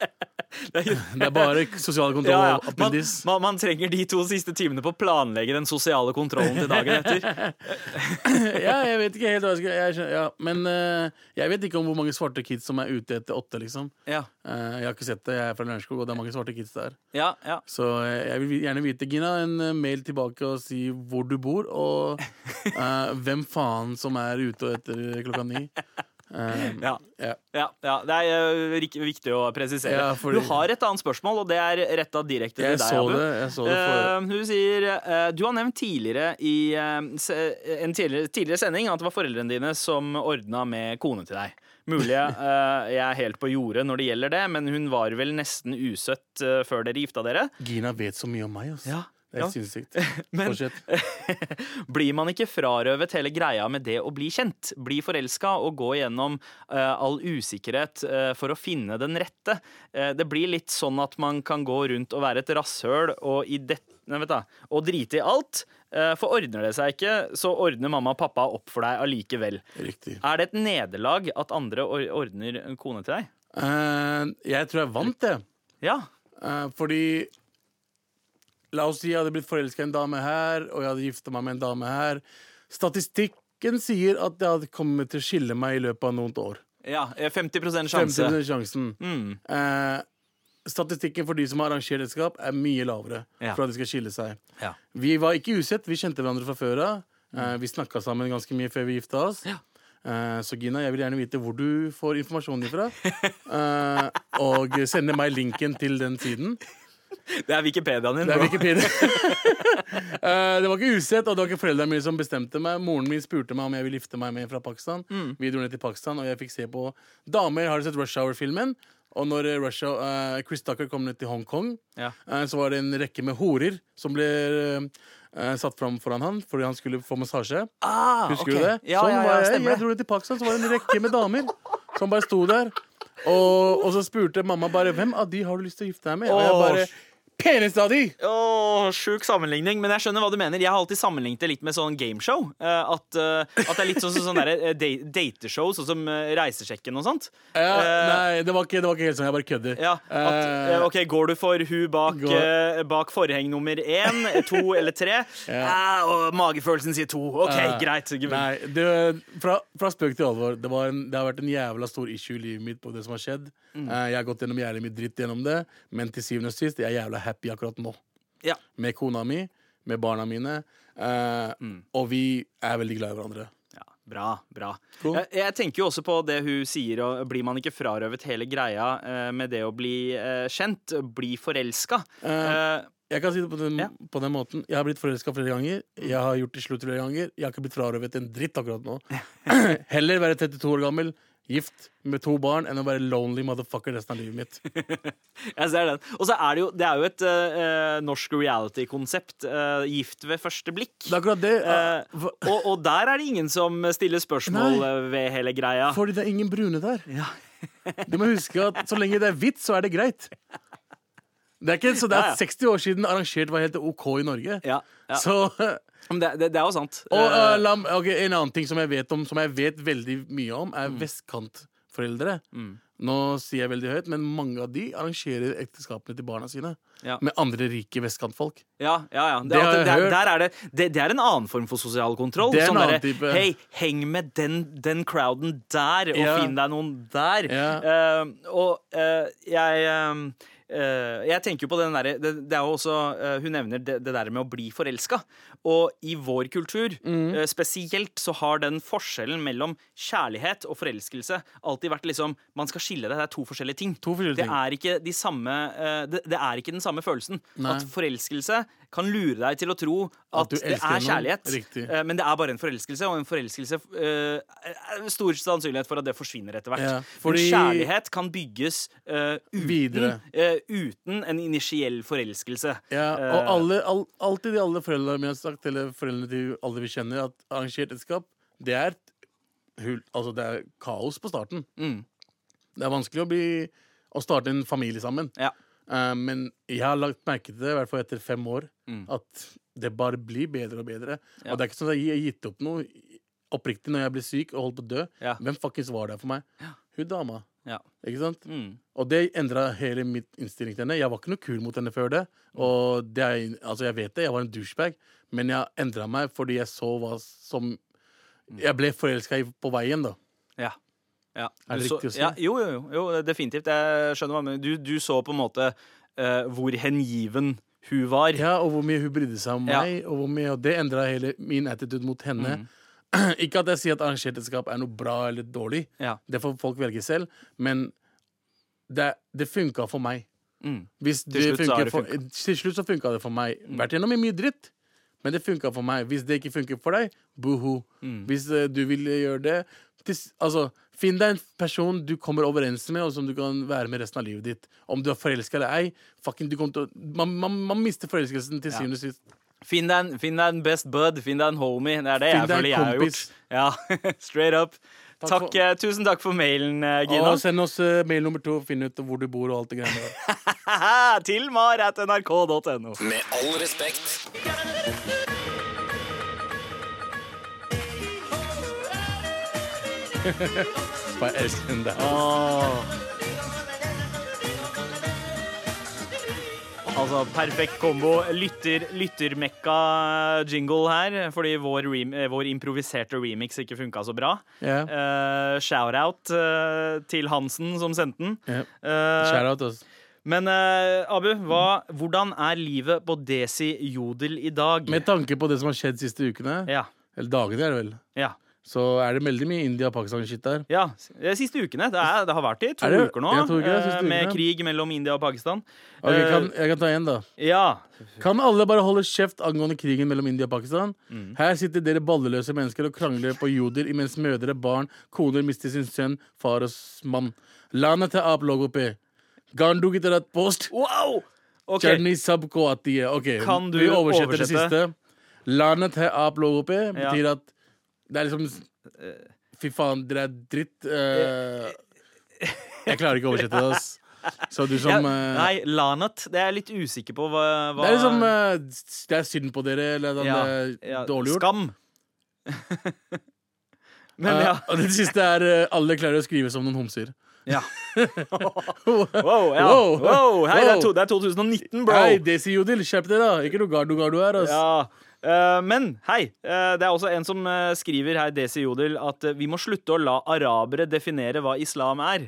S5: Det er bare sosial kontroll
S3: Ja, ja.
S5: og
S3: Man,
S5: appendis.
S3: man, man trenger de to siste timene på å planlegge den sosiale kontrollen til dagen
S5: *laughs*
S3: etter.
S5: *laughs* Ja, jeg vet ikke helt hva jeg skal jeg, skjønner- ja. Men eh, jeg vet ikke om hvor mange svarte kids som er ute etter åtte, liksom.
S3: Ja,
S5: Eh, jeg har ikke sett det. Jeg er fra Lørenskog, og det er mange svarte kids der.
S3: ja, ja.
S5: Så eh, jeg vil gjerne vite, Gina, en eh, mail tilbake og si hvor du bor, og eh, hvem faen som er ute etter klokka ni. Eh,
S3: ja.
S5: ja.
S3: Ja, ja, det er eh, rik- viktig å presisere.
S5: Ja, fordi-
S3: Du har et annet spørsmål, og det er retta direkte til
S5: Jeg
S3: deg.
S5: så
S3: Abu.
S5: det. Jeg så det for...
S3: Eh, hun sier eh, Du har nevnt tidligere i eh, se, en tidligere, tidligere sending at det var foreldrene dine som ordna med kone til deg. Mulig
S5: *laughs*
S3: eh, jeg er helt på jordet når det gjelder det, men hun var vel nesten usøtt eh, før dere gifta dere.
S5: Gina vet så mye om meg, ass.
S3: Ja,
S5: Det er helt
S3: ja.
S5: sinnssykt.
S3: *laughs* Men-
S5: Fortsett.
S3: *laughs* Blir man ikke frarøvet hele greia med det å bli kjent? Bli forelska og gå gjennom eh, all usikkerhet eh, for å finne den rette? Eh, det blir litt sånn at man kan gå rundt og være et rasshøl, og i det, Nei, vent da. Og drite i alt. eh, For ordner det seg ikke, så ordner mamma og pappa opp for deg allikevel.
S5: Riktig.
S3: Er det et nederlag at andre or- ordner en kone til deg?
S5: Eh, jeg tror jeg vant det.
S3: Ja.
S5: Eh, fordi La oss si jeg hadde blitt forelska i en dame her, og jeg hadde gifta meg med en dame her. Statistikken sier at jeg hadde kommet til å skille meg i løpet av noen år.
S3: ja 50 sjanse. Mm.
S5: 50 sjansen. Eh, statistikken for de som har arrangert ekteskap, er mye lavere
S3: Ja.
S5: for at de skal skille seg.
S3: Ja.
S5: Vi var ikke usett, vi kjente hverandre fra før av. Eh, vi snakka sammen ganske mye før vi gifta oss. Eh, så Gina, jeg vil gjerne vite hvor du får informasjonen din fra. Eh, og sende meg linken til den siden.
S3: Det er Wikipediaen din.
S5: Det er
S3: bro.
S5: Wikipedia. *laughs* Eh, det var ikke usett, og det var ikke foreldrene mine som bestemte meg. Moren min spurte meg om jeg ville gifte meg med en fra Pakistan.
S3: Mm.
S5: Vi dro ned til Pakistan, og jeg fikk se på damer. Har du sett Rush Hour-filmen? Og når eh, Rush Hour, eh, Chris Tucker kom ned til Hongkong,
S3: Ja.
S5: eh, så var det en rekke med horer som ble eh, satt fram foran han fordi han skulle få massasje.
S3: Ah, ok.
S5: Husker du det?
S3: Ja,
S5: sånn
S3: ja, ja,
S5: var jeg.
S3: stemmer
S5: Jeg
S3: det.
S5: dro ned til Pakistan, så var det en rekke med damer som bare sto der. Og, og så spurte mamma bare hvem av de har du lyst til å gifte deg med. Og jeg
S3: Åh.
S5: bare Peneste av de!
S3: Åh, Sjuk sammenligning, men jeg skjønner hva du mener. Jeg har alltid sammenlignet det litt med sånn gameshow. eh, At, eh, at det er litt sånn som sånn derre, eh, da- dateshow, sånn som eh, Reisesjekken og sånt.
S5: Ja,
S3: Eh,
S5: nei, det var, ikke, det var ikke helt sånn. Jeg bare kødder.
S3: Ja, at,
S5: Eh,
S3: eh, ok, Går du for hun bak,
S5: Går-
S3: eh, bak forheng nummer én, to eller
S5: *laughs*
S3: tre? Ah, og magefølelsen sier to. OK, *laughs*
S5: eh,
S3: greit. Gud.
S5: Nei, det, fra, fra spøk til alvor. Det, var en, det har vært en jævla stor issue i livet mitt på det som har skjedd.
S3: Mm.
S5: Eh, jeg har gått gjennom jævlig mye dritt gjennom det, men til syvende og sist jeg er jeg jævla happy akkurat nå.
S3: Ja.
S5: Med kona mi, med barna mine, eh,
S3: Mm.
S5: og vi er veldig glad i hverandre.
S3: Ja, bra, bra.
S5: Cool.
S3: Jeg, jeg tenker jo også på det hun sier, og blir man ikke frarøvet hele greia eh, med det å bli eh, kjent? Bli forelska?
S5: Eh, Jeg kan si det på den,
S3: Ja.
S5: på den måten Jeg har blitt forelska flere ganger. Jeg har gjort det slutt flere ganger. Jeg har ikke blitt frarøvet en dritt akkurat
S3: *laughs*
S5: nå. Heller være 32 år gammel, gift med to barn, enn å være lonely motherfucker resten av livet mitt.
S3: *laughs* Jeg ser den. Og så er det jo, det er jo et eh, norsk reality-konsept. eh, gift ved første blikk.
S5: Det er akkurat det.
S3: Eh,
S5: hva-
S3: og, og der er det ingen som stiller spørsmål
S5: Nei.
S3: eh, ved hele greia.
S5: Fordi det er ingen brune der. du må huske at så lenge det er hvitt, så er det greit. Det er ikke, så det
S3: Ja,
S5: er
S3: ja.
S5: 60 år siden arrangert var helt OK i Norge.
S3: Ja, ja.
S5: Så
S3: Men det, det, det er jo sant.
S5: Og
S3: Eh,
S5: eh, la, m- ok, En annen ting som jeg vet om Som jeg vet veldig mye om, er
S3: Mm.
S5: vestkantforeldre. Nå sier jeg veldig høyt, men mange av de arrangerer ekteskapene til barna sine
S3: Ja.
S5: med andre rike vestkantfolk.
S3: Ja, ja, ja. Det,
S5: Det har
S3: at,
S5: jeg
S3: der,
S5: hørt.
S3: der er det, det, det er en annen form for sosial kontroll.
S5: Det er en
S3: Sånn
S5: annen
S3: derre,
S5: type.
S3: Hei, heng med den, den crowden der, og
S5: Ja.
S3: finn deg noen der.
S5: Ja.
S3: Eh, og eh, jeg eh, eh, jeg tenker jo på den derre det, det er jo også eh, Hun nevner det, det der med å bli forelska. Og i vår kultur
S5: Mm.
S3: eh, spesielt så har den forskjellen mellom kjærlighet og forelskelse alltid vært liksom Man skal skille det. Det er to forskjellige ting.
S5: To
S3: det
S5: forskjellige ting.
S3: er er ikke de samme eh, det, det er ikke den samme følelsen.
S5: Nei.
S3: At forelskelse kan lure deg til å tro
S5: At
S3: at,
S5: du
S3: det
S5: elsker
S3: er
S5: noen.
S3: kjærlighet,
S5: Riktig.
S3: Eh, men det er bare en forelskelse, og en forelskelse eh, er stor sannsynlighet for at det forsvinner etter hvert.
S5: Ja,
S3: Fordi...
S5: fordi-
S3: Men kjærlighet kan bygges eh, uten,
S5: Videre.
S3: eh, uten en initiell forelskelse.
S5: Ja,
S3: Eh,
S5: og alle, all, alltid de alle foreldrene mine har sagt, eller foreldrene til alle vi kjenner, at arrangert ekteskap, det er et hull Altså, det er kaos på starten.
S3: Mm.
S5: Det er vanskelig å bli Å starte en familie sammen.
S3: ja.
S5: Eh, men jeg har lagt merke til det, i hvert fall etter fem år, at det bare blir bedre og bedre.
S3: Mm. Ja.
S5: Og det er ikke sånn at jeg har gitt opp noe oppriktig når jeg ble syk og holdt på å dø.
S3: Ja.
S5: Hvem fuckings var der for meg? Hun dama.
S3: Ja.
S5: Ikke sant?
S3: Mm.
S5: Og det endra hele mitt innstilling til henne. Jeg var ikke noe kul mot henne før det.
S3: Mm.
S5: Og det er, altså jeg vet det, jeg var en douchebag, men jeg endra meg fordi jeg så hva som
S3: Mm.
S5: Jeg ble forelska på veien, da.
S3: Ja. ja.
S5: Er det
S3: Du så-
S5: riktig å si?
S3: Ja, jo, jo, jo, jo, definitivt. Jeg skjønner hva du mener. Du, du så på en måte eh, hvor hengiven hun var.
S5: Ja, og hvor mye hun brydde seg om
S3: Ja. Mm.
S5: meg. Og hvor mye, og det endra hele min attitude mot henne. *clears throat* Ikke at jeg sier at arrangert ekteskap er noe bra eller dårlig.
S3: Ja.
S5: Det får folk velge selv. Men det, det funka for meg.
S3: Mm.
S5: Hvis
S3: Til slutt så har det Mm.
S5: for, til slutt så funka det for meg. Vært gjennom mye dritt, men det funka for meg. Hvis det ikke funker for deg, buhu.
S3: Mm.
S5: Hvis eh, du vil gjøre det til, s- Altså, finn deg en person du kommer overens med, og som du kan være med resten av livet ditt. Om du er forelska eller ei. Fucking, du kommer til å man, man, man mister forelskelsen til syvende og sist.
S3: Finn deg, en, finn deg en best bud, finn deg en homie. Det er det
S5: Finn
S3: jeg
S5: deg en
S3: føler jeg har gjort.
S5: kompis.
S3: Ja, *laughs* Straight up. Takk, eh, tusen takk for mailen, eh, Gino.
S5: Og send oss eh, mail nummer to, finn ut hvor du bor og alt det greiene
S3: *laughs*
S5: der.
S3: Til mar.nrk.no.
S1: Med all respekt.
S5: Bare elsker den der.
S3: Altså, perfekt kombo. Lytter, Lyttermekka-jingle her, fordi vår, rem eh, vår improviserte remix ikke funka så bra.
S5: Ja.
S3: Eh, Shout-out eh, til Hansen som sendte den.
S5: Ja.
S3: Eh,
S5: Shout out, altså.
S3: men eh, Abu, hva, hvordan er livet på Desi Jodel i dag?
S5: Med tanke på det som har skjedd siste ukene,
S3: ja,
S5: eller dagene er det vel,
S3: ja,
S5: så er det veldig mye India-Pakistan-shit der.
S3: ja. De siste ukene. Det, er, det har vært i to
S5: Er det-
S3: uker nå,
S5: ja, to uker, de
S3: eh,
S5: siste
S3: med
S5: ukene.
S3: krig mellom India og Pakistan.
S5: Ok,
S3: Eh,
S5: kan, jeg kan ta en, da.
S3: Ja.
S5: Kan alle bare holde kjeft angående krigen mellom India og Pakistan? Her sitter dere balleløse mennesker og krangler på joder imens mødre, barn, koner mister sin sønn, far og s- mann. Landet er ap logo pe. Gandu ki tarat post.
S3: Wow! Ok,
S5: Charni sab ko aati hai. Ok,
S3: Kan du
S5: vi oversetter det
S3: oversette?
S5: siste. Landet er ap logo pe
S3: Ja. Eh.
S5: betyr at det er liksom s- Fy faen, dere er dritt. eh, jeg klarer ikke å oversette det, ass. Så du som
S3: Ja,
S5: eh,
S3: nei, Lanat. Det er jeg litt usikker på hva, hva
S5: Det er liksom eh, s- Det er synd på dere, eller det er
S3: ja,
S5: dårlig gjort.
S3: Skam. *laughs* Men ja.
S5: Eh, og det siste er eh, alle klarer å skrive som noen homser. *laughs*
S3: ja. Wow, ja.
S5: Wow.
S3: wow. Hei, Det, er to,
S5: Wow.
S3: det er 2019, bro.
S5: Hei, Desi Jodel, skjerp deg, da! Ikke noe gardo gardo her. ass.
S3: Ja. Eh, men hei, eh, det er også en som eh, skriver her, Desi Jodel, at eh, vi må slutte å la arabere definere hva islam er.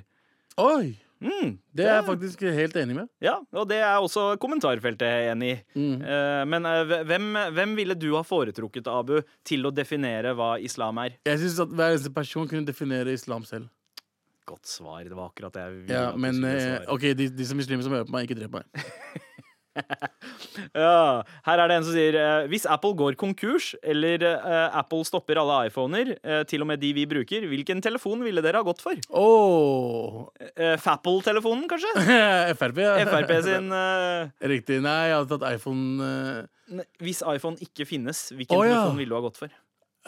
S5: Oi!
S3: Mm,
S5: Det er jeg faktisk helt enig med.
S3: ja, og det er også kommentarfeltet enig i.
S5: Mm.
S3: Eh, men eh, hvem, hvem ville du ha foretrukket, Abu, til å definere hva islam er?
S5: Jeg synes at Hver eneste person kunne definere islam selv.
S3: Godt svar. Det var akkurat det jeg ville
S5: Ja,
S3: at du
S5: Men
S3: skulle
S5: eh,
S3: svare.
S5: ok, de, de som muslimer som hører på meg, ikke
S3: *laughs*
S5: drep meg.
S3: Ja, her er det en som sier eh, Hvis Apple går konkurs, eller eh, Apple stopper alle iPhoner, eh, til og med de vi bruker, hvilken telefon ville dere ha gått for?
S5: Oh. *laughs*
S3: Eh, Fapple-telefonen, kanskje?
S5: Frp, ja.
S3: FRP
S5: *laughs*
S3: sin eh,
S5: Riktig. Nei, jeg hadde tatt iPhone eh,
S3: ne- Hvis iPhone ikke finnes, hvilken
S5: Å, ja.
S3: telefon ville du ha gått for?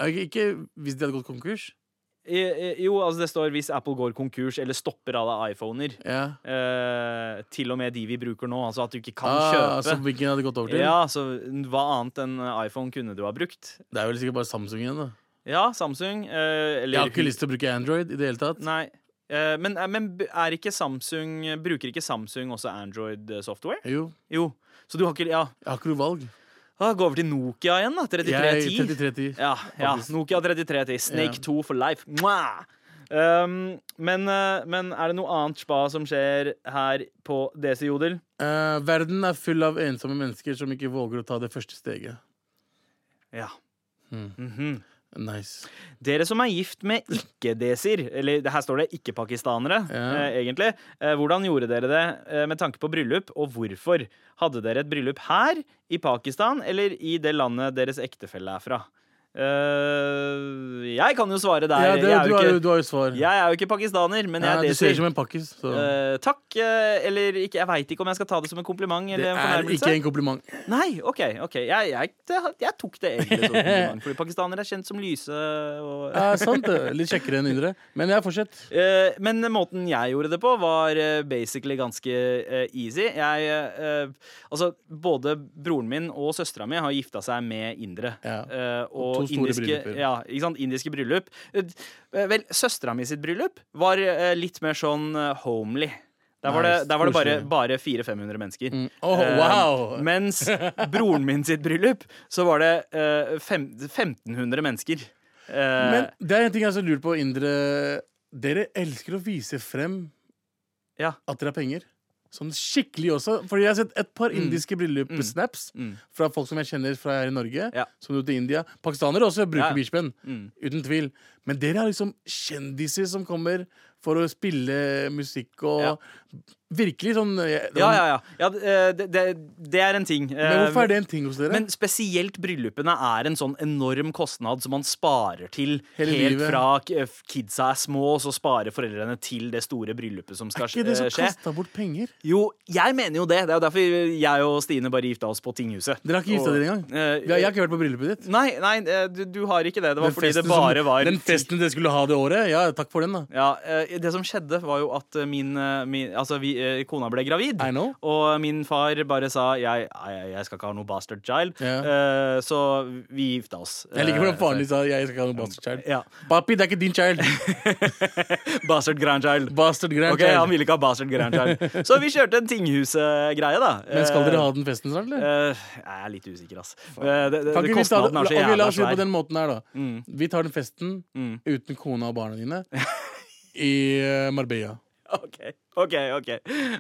S5: ikke- Ikke hvis de hadde gått konkurs.
S3: I, i- jo, altså det står 'hvis Apple går konkurs eller stopper alle iPhoner'.
S5: Ja.
S3: Eh, til og med de vi bruker nå, altså at du ikke kan
S5: Ah,
S3: kjøpe.
S5: så hvilken hadde gått over til?
S3: Ja, så Hva annet enn iPhone kunne du ha brukt?
S5: Det er vel sikkert bare Samsung igjen, da.
S3: Ja, Samsung. Eh, eller
S5: Jeg har ikke lyst til å bruke Android i det hele tatt.
S3: Nei. Eh, men, men er ikke Samsung Bruker ikke Samsung også Android-software?
S5: Jo,
S3: Jo. Så du har ikke Ja,
S5: jeg har ikke noe valg.
S3: ah, gå over til Nokia igjen, da.
S5: Jeg er
S3: 3310.
S5: 3310.
S3: Ja, ja.
S5: faktisk.
S3: Nokia 3310. Snake
S5: Ja.
S3: 2 for life. Mwah! Um, men, eh, men er det noe annet spa som skjer her på Desi Jodel?
S5: Eh, verden er full av ensomme mennesker som ikke våger å ta det første steget.
S3: Ja.
S5: Mm.
S3: Mhm.
S5: Nice.
S3: Dere som er gift med ikke-desier, eller det her står det ikke-pakistanere,
S5: Ja.
S3: eh, egentlig. Eh, hvordan gjorde dere det eh, med tanke på bryllup, og hvorfor? Hadde dere et bryllup her, i Pakistan, eller i det landet deres ektefelle er fra? Eh, jeg kan jo svare der.
S5: Ja, det,
S3: jeg, er
S5: du,
S3: jo
S5: har, jo-
S3: ikke,
S5: du har jo svar.
S3: jeg er jo ikke pakistaner, men jeg
S5: Ja,
S3: er
S5: du ser
S3: desier.
S5: ut som en pakkis. Så.
S3: Eh, takk, eh, eller ikke, jeg veit ikke om jeg skal ta det som en kompliment.
S5: det
S3: Eller en
S5: er
S3: fornærmelse.
S5: ikke en kompliment.
S3: Nei, OK. ok jeg, jeg, det- jeg tok det egentlig
S5: *laughs*
S3: som en kompliment. Fordi pakistanere er kjent som lyse og
S5: Ja, sant det. Litt kjekkere enn indre. Men jeg fortsett.
S3: Eh, Men måten jeg gjorde det på, var eh, basically ganske eh, easy. Jeg eh, Altså, både broren min og søstera mi har gifta seg med indere.
S5: Ja.
S3: Eh,
S5: Og to
S3: og
S5: store
S3: indiske,
S5: brylluper.
S3: ja, ikke sant? indiske bryllup. Eh, Vel, søstera mi sitt bryllup var eh, litt mer sånn eh, homely. Der var, det,
S5: Nice.
S3: der var det bare,
S5: Koselig.
S3: bare 400-500 mennesker.
S5: Mm. Oh, wow.
S3: Eh, mens broren min sitt bryllup, så var det eh, fem, 1500 mennesker. Eh,
S5: Men det er en ting jeg så lurer på, indre. Dere elsker å vise frem
S3: Ja.
S5: at dere har penger. Sånn skikkelig også. Fordi jeg har sett et par indiske bryllupssnaps
S3: Mm.
S5: fra folk som jeg kjenner fra her i Norge,
S3: Ja.
S5: som dro til India. Pakistanere også
S3: Ja,
S5: bruker
S3: ja.
S5: beachband,
S3: Mm.
S5: uten tvil. Men dere er liksom kjendiser som kommer for å spille musikk og
S3: Ja.
S5: Virkelig sånn jeg-
S3: Ja, ja, ja. ja eh, det- det, det, det er en ting. Eh,
S5: Men hvorfor er det en ting hos dere?
S3: Men spesielt bryllupene er en sånn enorm kostnad som man sparer til
S5: Hele
S3: helt
S5: livet.
S3: fra k- eh, kidsa er små, og så sparer foreldrene til det store bryllupet som skal
S5: er ikke det som
S3: eh, skje.
S5: kasta bort penger?
S3: Jo, jeg mener jo det. Det er jo derfor jeg og Stine bare gifta oss på tinghuset.
S5: Dere har ikke gifta
S3: Og-
S5: dere engang?
S3: Eh,
S5: Vi har- Jeg har ikke vært på bryllupet ditt.
S3: Nei, nei eh, du, du har ikke det. Det var
S5: Den
S3: fordi det
S5: festen
S3: bare
S5: som,
S3: var
S5: Den festen dere skulle ha det året? Ja, takk for den, da.
S3: Ja, eh, Det som skjedde, var jo at eh, min, eh, min Altså, vi, eh, kona ble gravid.
S5: I know.
S3: Og min far bare sa jeg, jeg, jeg skal ikke ha noe bastard child,
S5: Ja.
S3: eh, så vi gifta oss.
S5: Jeg liker hvordan
S3: Eh,
S5: faren din sa jeg skal ikke ha noen bastard child.
S3: Ja.
S5: Papi, det er ikke
S3: *laughs*
S5: din child.
S3: Bastard grandchild.
S5: Bastard grand
S3: Ok, Han ville ikke ha bastard grandchild. Så vi kjørte en tinghusgreie, da.
S5: Men skal dere ha den festen snart, eller?
S3: Eh, jeg er litt usikker, ass. Eh, det, det,
S5: Kan ikke vi ta det?
S3: kostnaden er så
S5: Ok, la
S3: jævla
S5: oss gjøre det på
S3: svær.
S5: den måten her, da. Vi tar den festen
S3: Mm.
S5: uten kona og barna
S3: *laughs*
S5: dine i eh, Marbella.
S3: *laughs* Ok, ok, ok.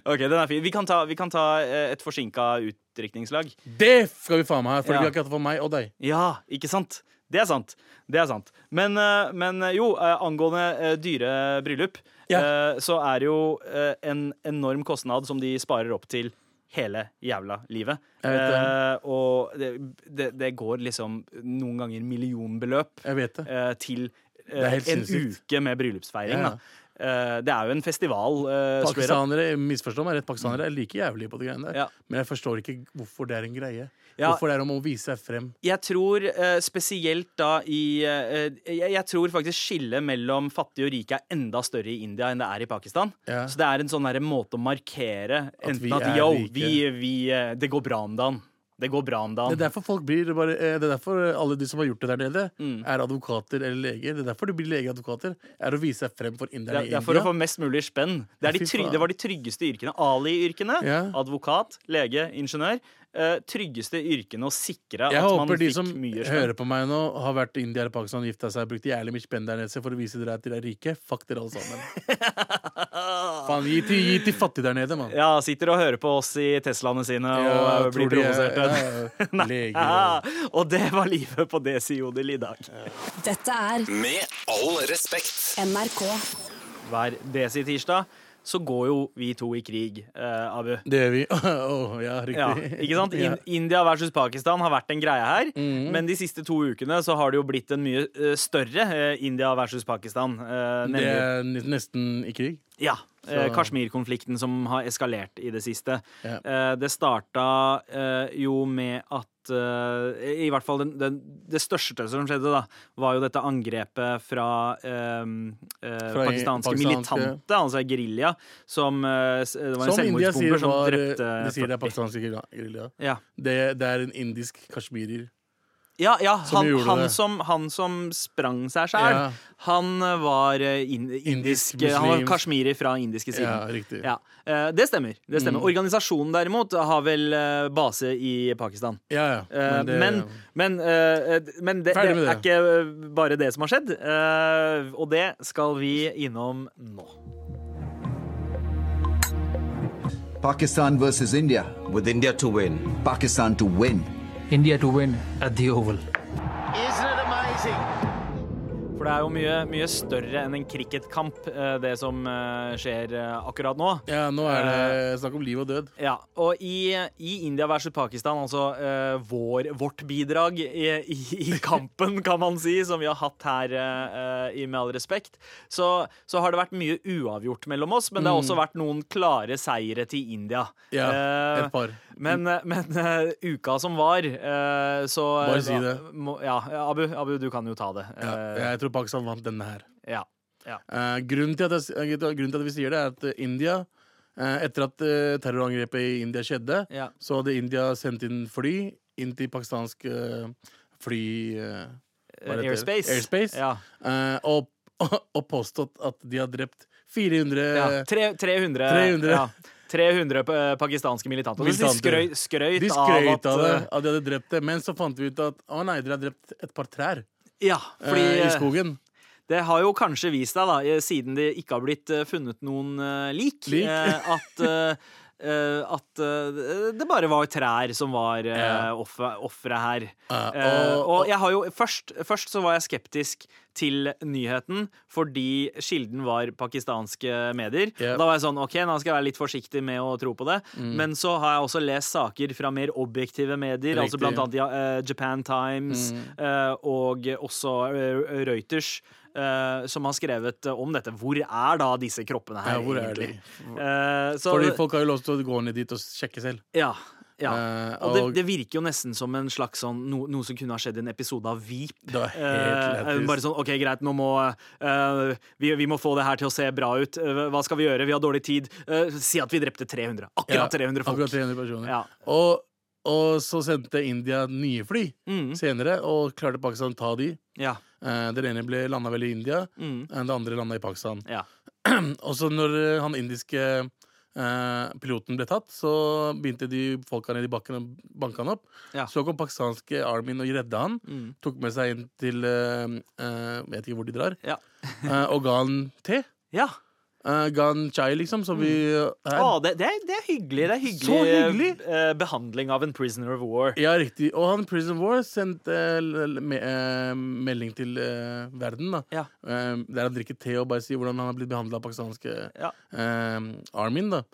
S3: Ok, Den er fin. Vi kan ta, vi kan ta eh, et forsinka utdrikningslag.
S5: Det skal vi faen meg ha! For
S3: Ja.
S5: vi har ikke hatt det for meg og deg.
S3: Ja, ikke sant? Det er sant. Det er sant. Men, eh, men eh, jo, eh, angående eh, dyre bryllup,
S5: Ja.
S3: eh, så er det jo eh, en enorm kostnad som de sparer opp til hele jævla livet.
S5: Jeg vet det.
S3: Eh, og det, det, det går liksom noen ganger millionbeløp
S5: Jeg vet det.
S3: eh, til eh,
S5: er helt
S3: en
S5: sinnssykt.
S3: uke med bryllupsfeiring.
S5: Ja, ja.
S3: Da. Eh, det er jo en festival. eh, straight up.
S5: Pakistanere misforstå meg rett, pakistanere er like jævlige på de greiene der.
S3: Ja.
S5: Men jeg forstår ikke hvorfor det er en greie.
S3: Ja.
S5: Hvorfor det er om å vise seg frem.
S3: Jeg tror eh, spesielt da i eh, jeg, jeg tror faktisk skillet mellom fattig og rik er enda større i India enn det er i Pakistan.
S5: Ja.
S3: Så det er en sånn derre måte å markere
S5: vi
S3: enten at,
S5: er
S3: yo,
S5: rike.
S3: vi, vi eh, Det går bra om dagen. Det går bra om
S5: Det er
S3: dagen.
S5: derfor folk blir bare, eh, Det er derfor alle de som har gjort det der nede,
S3: Mm.
S5: er advokater eller leger. Det er derfor de blir legeadvokater. Er å vise seg frem for
S3: Det
S5: inderne
S3: er,
S5: i
S3: det er for å
S5: India.
S3: få mest mulig spenn. Det, er
S5: Ja,
S3: de
S5: fy
S3: tryg,
S5: faen.
S3: det var de tryggeste yrkene. Ali-yrkene.
S5: Ja.
S3: Advokat, lege, ingeniør. eh, tryggeste yrkene å sikre at
S5: Jeg
S3: man
S5: håper de
S3: fikk
S5: som
S3: mye spenn.
S5: hører på meg nå, har vært i India eller Pakistan, gifta seg, brukt jævlig mye spenn der nede for å vise dere at dere er rike. Fuck dere alle
S3: *laughs*
S5: sammen. Faen, gi til, gi til fattige der nede, mann.
S3: Ja, sitter og hører på oss i Teslaene sine og eh, blir
S5: tror de
S3: provosert.
S5: er- ja,
S3: *laughs*
S5: ja, Leger
S3: Ja,
S5: og-
S3: og det var livet på Desiodel i dag.
S2: Dette er
S1: Med all respekt.
S2: NRK.
S3: Hver Desi-tirsdag så går jo vi to i krig, eh, Abu.
S5: Det gjør vi. *laughs* Åh, ja,
S3: Ja,
S5: riktig.
S3: ikke
S5: *laughs*
S3: sant?
S5: Ja. Mhm.
S3: In India versus Pakistan har vært en greie her, men de siste to ukene så har det jo blitt en mye eh, større eh, India versus Pakistan. eh,
S5: Det
S3: nemlig
S5: er n- nesten i krig.
S3: Ja. eh,
S5: Så-
S3: Kashmir-konflikten som har eskalert i det siste.
S5: Ja.
S3: Eh, Det starta eh, jo med at eh, I hvert fall den, den, det største som skjedde, da, var jo dette angrepet fra, eh, eh,
S5: Fra i-
S3: pakistanske
S5: pakistanske-
S3: militante, altså gerilja, som eh, s- Det var en
S5: Som India sier
S3: selvmordsbomber som
S5: var eh,
S3: drepte
S5: De sier det
S3: 40.
S5: er pakistanske grilla- gerilja.
S3: Ja.
S5: Det, det er en indisk kashmirer.
S3: Ja, ja han,
S5: gjorde
S3: han,
S5: det.
S3: som, han som sprang seg sjæl,
S5: Ja.
S3: han eh, var eh, in, indisk,
S5: Indisk
S3: Han var
S5: muslim.
S3: kashmiri fra indiske siden.
S5: Ja, riktig. Mm.
S3: Ja, eh, det stemmer. Det stemmer. Organisasjonen derimot har vel eh, base i Pakistan.
S5: Ja, ja.
S3: Eh,
S5: det-
S3: Men, men, eh, eh, men det, det
S5: Ferdig med
S3: er
S5: det.
S3: ikke eh, bare det som har skjedd, eh, og det skal vi innom nå.
S4: Pakistan versus India.
S6: with India to win.
S4: Pakistan to win.
S7: India to win at the Oval.
S3: For det er jo mye, mye større enn en cricketkamp, eh, det som eh, skjer eh, akkurat nå.
S5: ja, nå er
S3: Eh,
S5: det snakk om liv og død.
S3: Ja, og i, i India versus Pakistan, altså eh, vår, vårt bidrag i, i,
S5: *laughs*
S3: i kampen, kan man si, som vi har hatt her, eh, i Med all respekt, så, så har det vært mye uavgjort mellom oss, men det har også vært noen klare seire til India.
S5: Mm. Ja,
S3: Eh,
S5: et par.
S3: Men, eh, men eh, uka som var, eh, så
S5: Bare si det.
S3: Må, ja, Abu, Abu, du kan jo ta det.
S5: Ja,
S3: Eh,
S5: jeg tror Pakistan vant denne her.
S3: ja.
S5: Eh, grunnen, til at jeg, grunnen til at vi sier det, er at eh, India eh, Etter at eh, terrorangrepet i India skjedde,
S3: Ja.
S5: så hadde India sendt inn fly inn til pakistansk eh, fly... eh, hva heter det?
S3: Airspace.
S5: Airspace.
S3: Ja.
S5: Eh, og, og påstått at de har drept 400
S3: Ja, tre- 300,
S5: 300.
S3: Ja, 300 pa- pakistanske militante. Og De
S5: Militanter.
S3: skrøy, skrøyt,
S5: De skrøt
S3: av
S5: av
S3: at,
S5: det,
S3: eh,
S5: at de hadde drept det, men så fant vi ut at å nei, dere har drept et par trær
S3: eh, Ja, fordi
S5: eh, i
S3: eh,
S5: skogen.
S3: det har jo kanskje vist deg, da, eh, *laughs* siden det ikke har blitt eh, funnet noen eh, lik,
S5: Lik?
S3: eh, at eh, eh, at eh, det bare var trær som var eh,
S5: Ja.
S3: offer- offeret her.
S5: Ja, og-
S3: Eh,
S5: og-
S3: og jeg har jo først, først så var jeg skeptisk til nyheten fordi kilden var pakistanske medier.
S5: Ja. Mm.
S3: Da var jeg sånn OK, nå skal jeg være litt forsiktig med å tro på det. Men så har jeg også lest saker fra mer objektive medier, altså
S5: Riktig. Mm.
S3: blant annet ja, eh, Japan Times eh, og også eh, Reuters. eh, som har skrevet eh, om dette. Hvor er da disse kroppene her,
S5: Ja, hvor er
S3: egentlig?
S5: de?
S3: Eh, så,
S5: Fordi folk har jo lov til å gå ned dit og sjekke selv.
S3: ja, ja.
S5: Eh,
S3: Og det,
S5: og-
S3: det virker jo nesten som en slags sånn, no, noe som kunne ha skjedd i en episode av Veep.
S5: Det var helt
S3: Eh,
S5: lættis.
S3: bare sånn OK, greit, nå må eh, vi, vi må få det her til å se bra ut. Eh, hva skal vi gjøre? Vi har dårlig tid. Eh, si at vi drepte 300. Akkurat 300 folk.
S5: Akkurat 300 personer.
S3: Ja.
S5: Og, og så sendte India nye fly
S3: Mm.
S5: senere, og klarte Pakistan å ta de.
S3: Ja.
S5: Eh, Den ene ble landa vel i India,
S3: Mm.
S5: eh, det andre landa i Pakistan.
S3: Ja.
S5: Og så når eh, han indiske eh, piloten ble tatt, så begynte de folka nede i bakken og banka han opp.
S3: Ja.
S5: Så kom pakistanske armyen og redda han.
S3: Mm.
S5: Tok med seg inn til eh, eh, Vet ikke hvor de drar.
S3: Ja.
S5: eh, og ga han te.
S3: ja.
S5: Eh, ga han chai, liksom, som vi eh,
S3: Mm. Å, det, det, er, det er hyggelig. Det er hyggelig,
S5: Så hyggelig!
S3: eh, behandling av en prisoner of war.
S5: Ja, riktig. Og han Prison War sendte eh, l- l- me eh, melding til eh, verden. da
S3: Ja.
S5: Eh, Der han drikker te og bare sier hvordan han har blitt behandla av pakistanske
S3: Ja.
S5: eh, armyen. da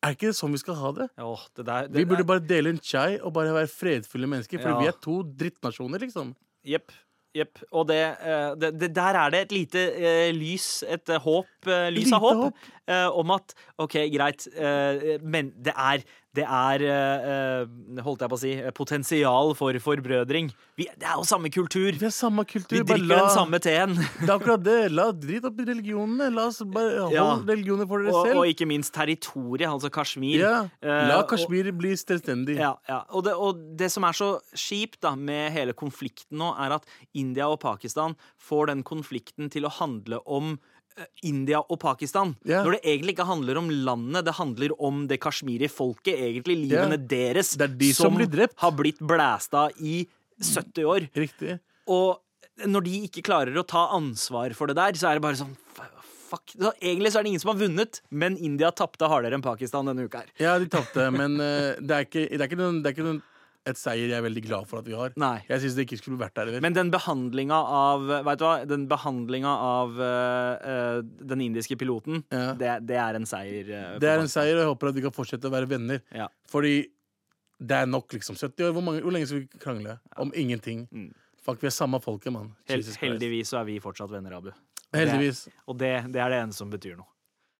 S5: Er ikke det sånn vi skal ha det?
S3: Åh, det der, det
S5: Vi burde
S3: der-
S5: bare dele en chai og bare være fredfulle mennesker. For
S3: Ja.
S5: vi er to drittnasjoner, liksom.
S3: Jepp. Jepp. Og det, eh, det, det, der er det et lite eh, lys, et eh, håp, eh, lys av håp,
S5: Lite
S3: eh, om at OK, greit, eh, men det er det er, eh, eh, holdt jeg på å si, eh, potensial for forbrødring. Vi, det er jo samme kultur.
S5: Vi har samme kultur.
S3: Vi
S5: bare
S3: drikker
S5: la-
S3: den samme
S5: *laughs*
S3: teen.
S5: Det er akkurat det. La drit opp i religionene. La oss bare holde
S3: Ja.
S5: religioner for dere
S3: Og,
S5: selv.
S3: og ikke minst territoriet, altså Kashmir.
S5: ja.
S3: Eh,
S5: La
S3: og-
S5: Kashmir bli selvstendig.
S3: Ja, ja. Og, det, og det som er så kjipt da, med hele konflikten nå, er at India og Pakistan får den konflikten til å handle om eh, India og Pakistan.
S5: Ja.
S3: Når det egentlig ikke handler om landet, det handler om det kasjmiri folket, egentlig
S5: Ja.
S3: livene deres,
S5: Det er de som blir drept.
S3: har blitt blæsta i 70 år.
S5: Riktig.
S3: Og når de ikke klarer å ta ansvar for det der, så er det bare sånn f- Fuck. Så egentlig så er det ingen som har vunnet, men India tapte hardere enn Pakistan denne uka her.
S5: Ja, de tapte, men eh, det er ikke, det er ikke, noen, det er ikke noen, et seier jeg er veldig glad for at vi har.
S3: Nei.
S5: Jeg syns det ikke skulle vært der heller.
S3: Men den behandlinga av Vet du hva? Den behandlinga av eh, eh, den indiske piloten,
S5: Ja.
S3: det, det er en seier. eh, for
S5: det er en
S3: Pakistan.
S5: seier, og jeg håper at vi kan fortsette å være venner.
S3: Ja.
S5: Fordi det er nok, liksom. 70 år. Hvor, mange, hvor lenge skal vi krangle? Om ingenting. Fuck, vi er samme folket, mann.
S3: Mm. Hel,
S5: Jesus Christ.
S3: heldigvis så er vi fortsatt venner, Abu.
S5: Heldigvis.
S3: Og det, det er det eneste som betyr noe.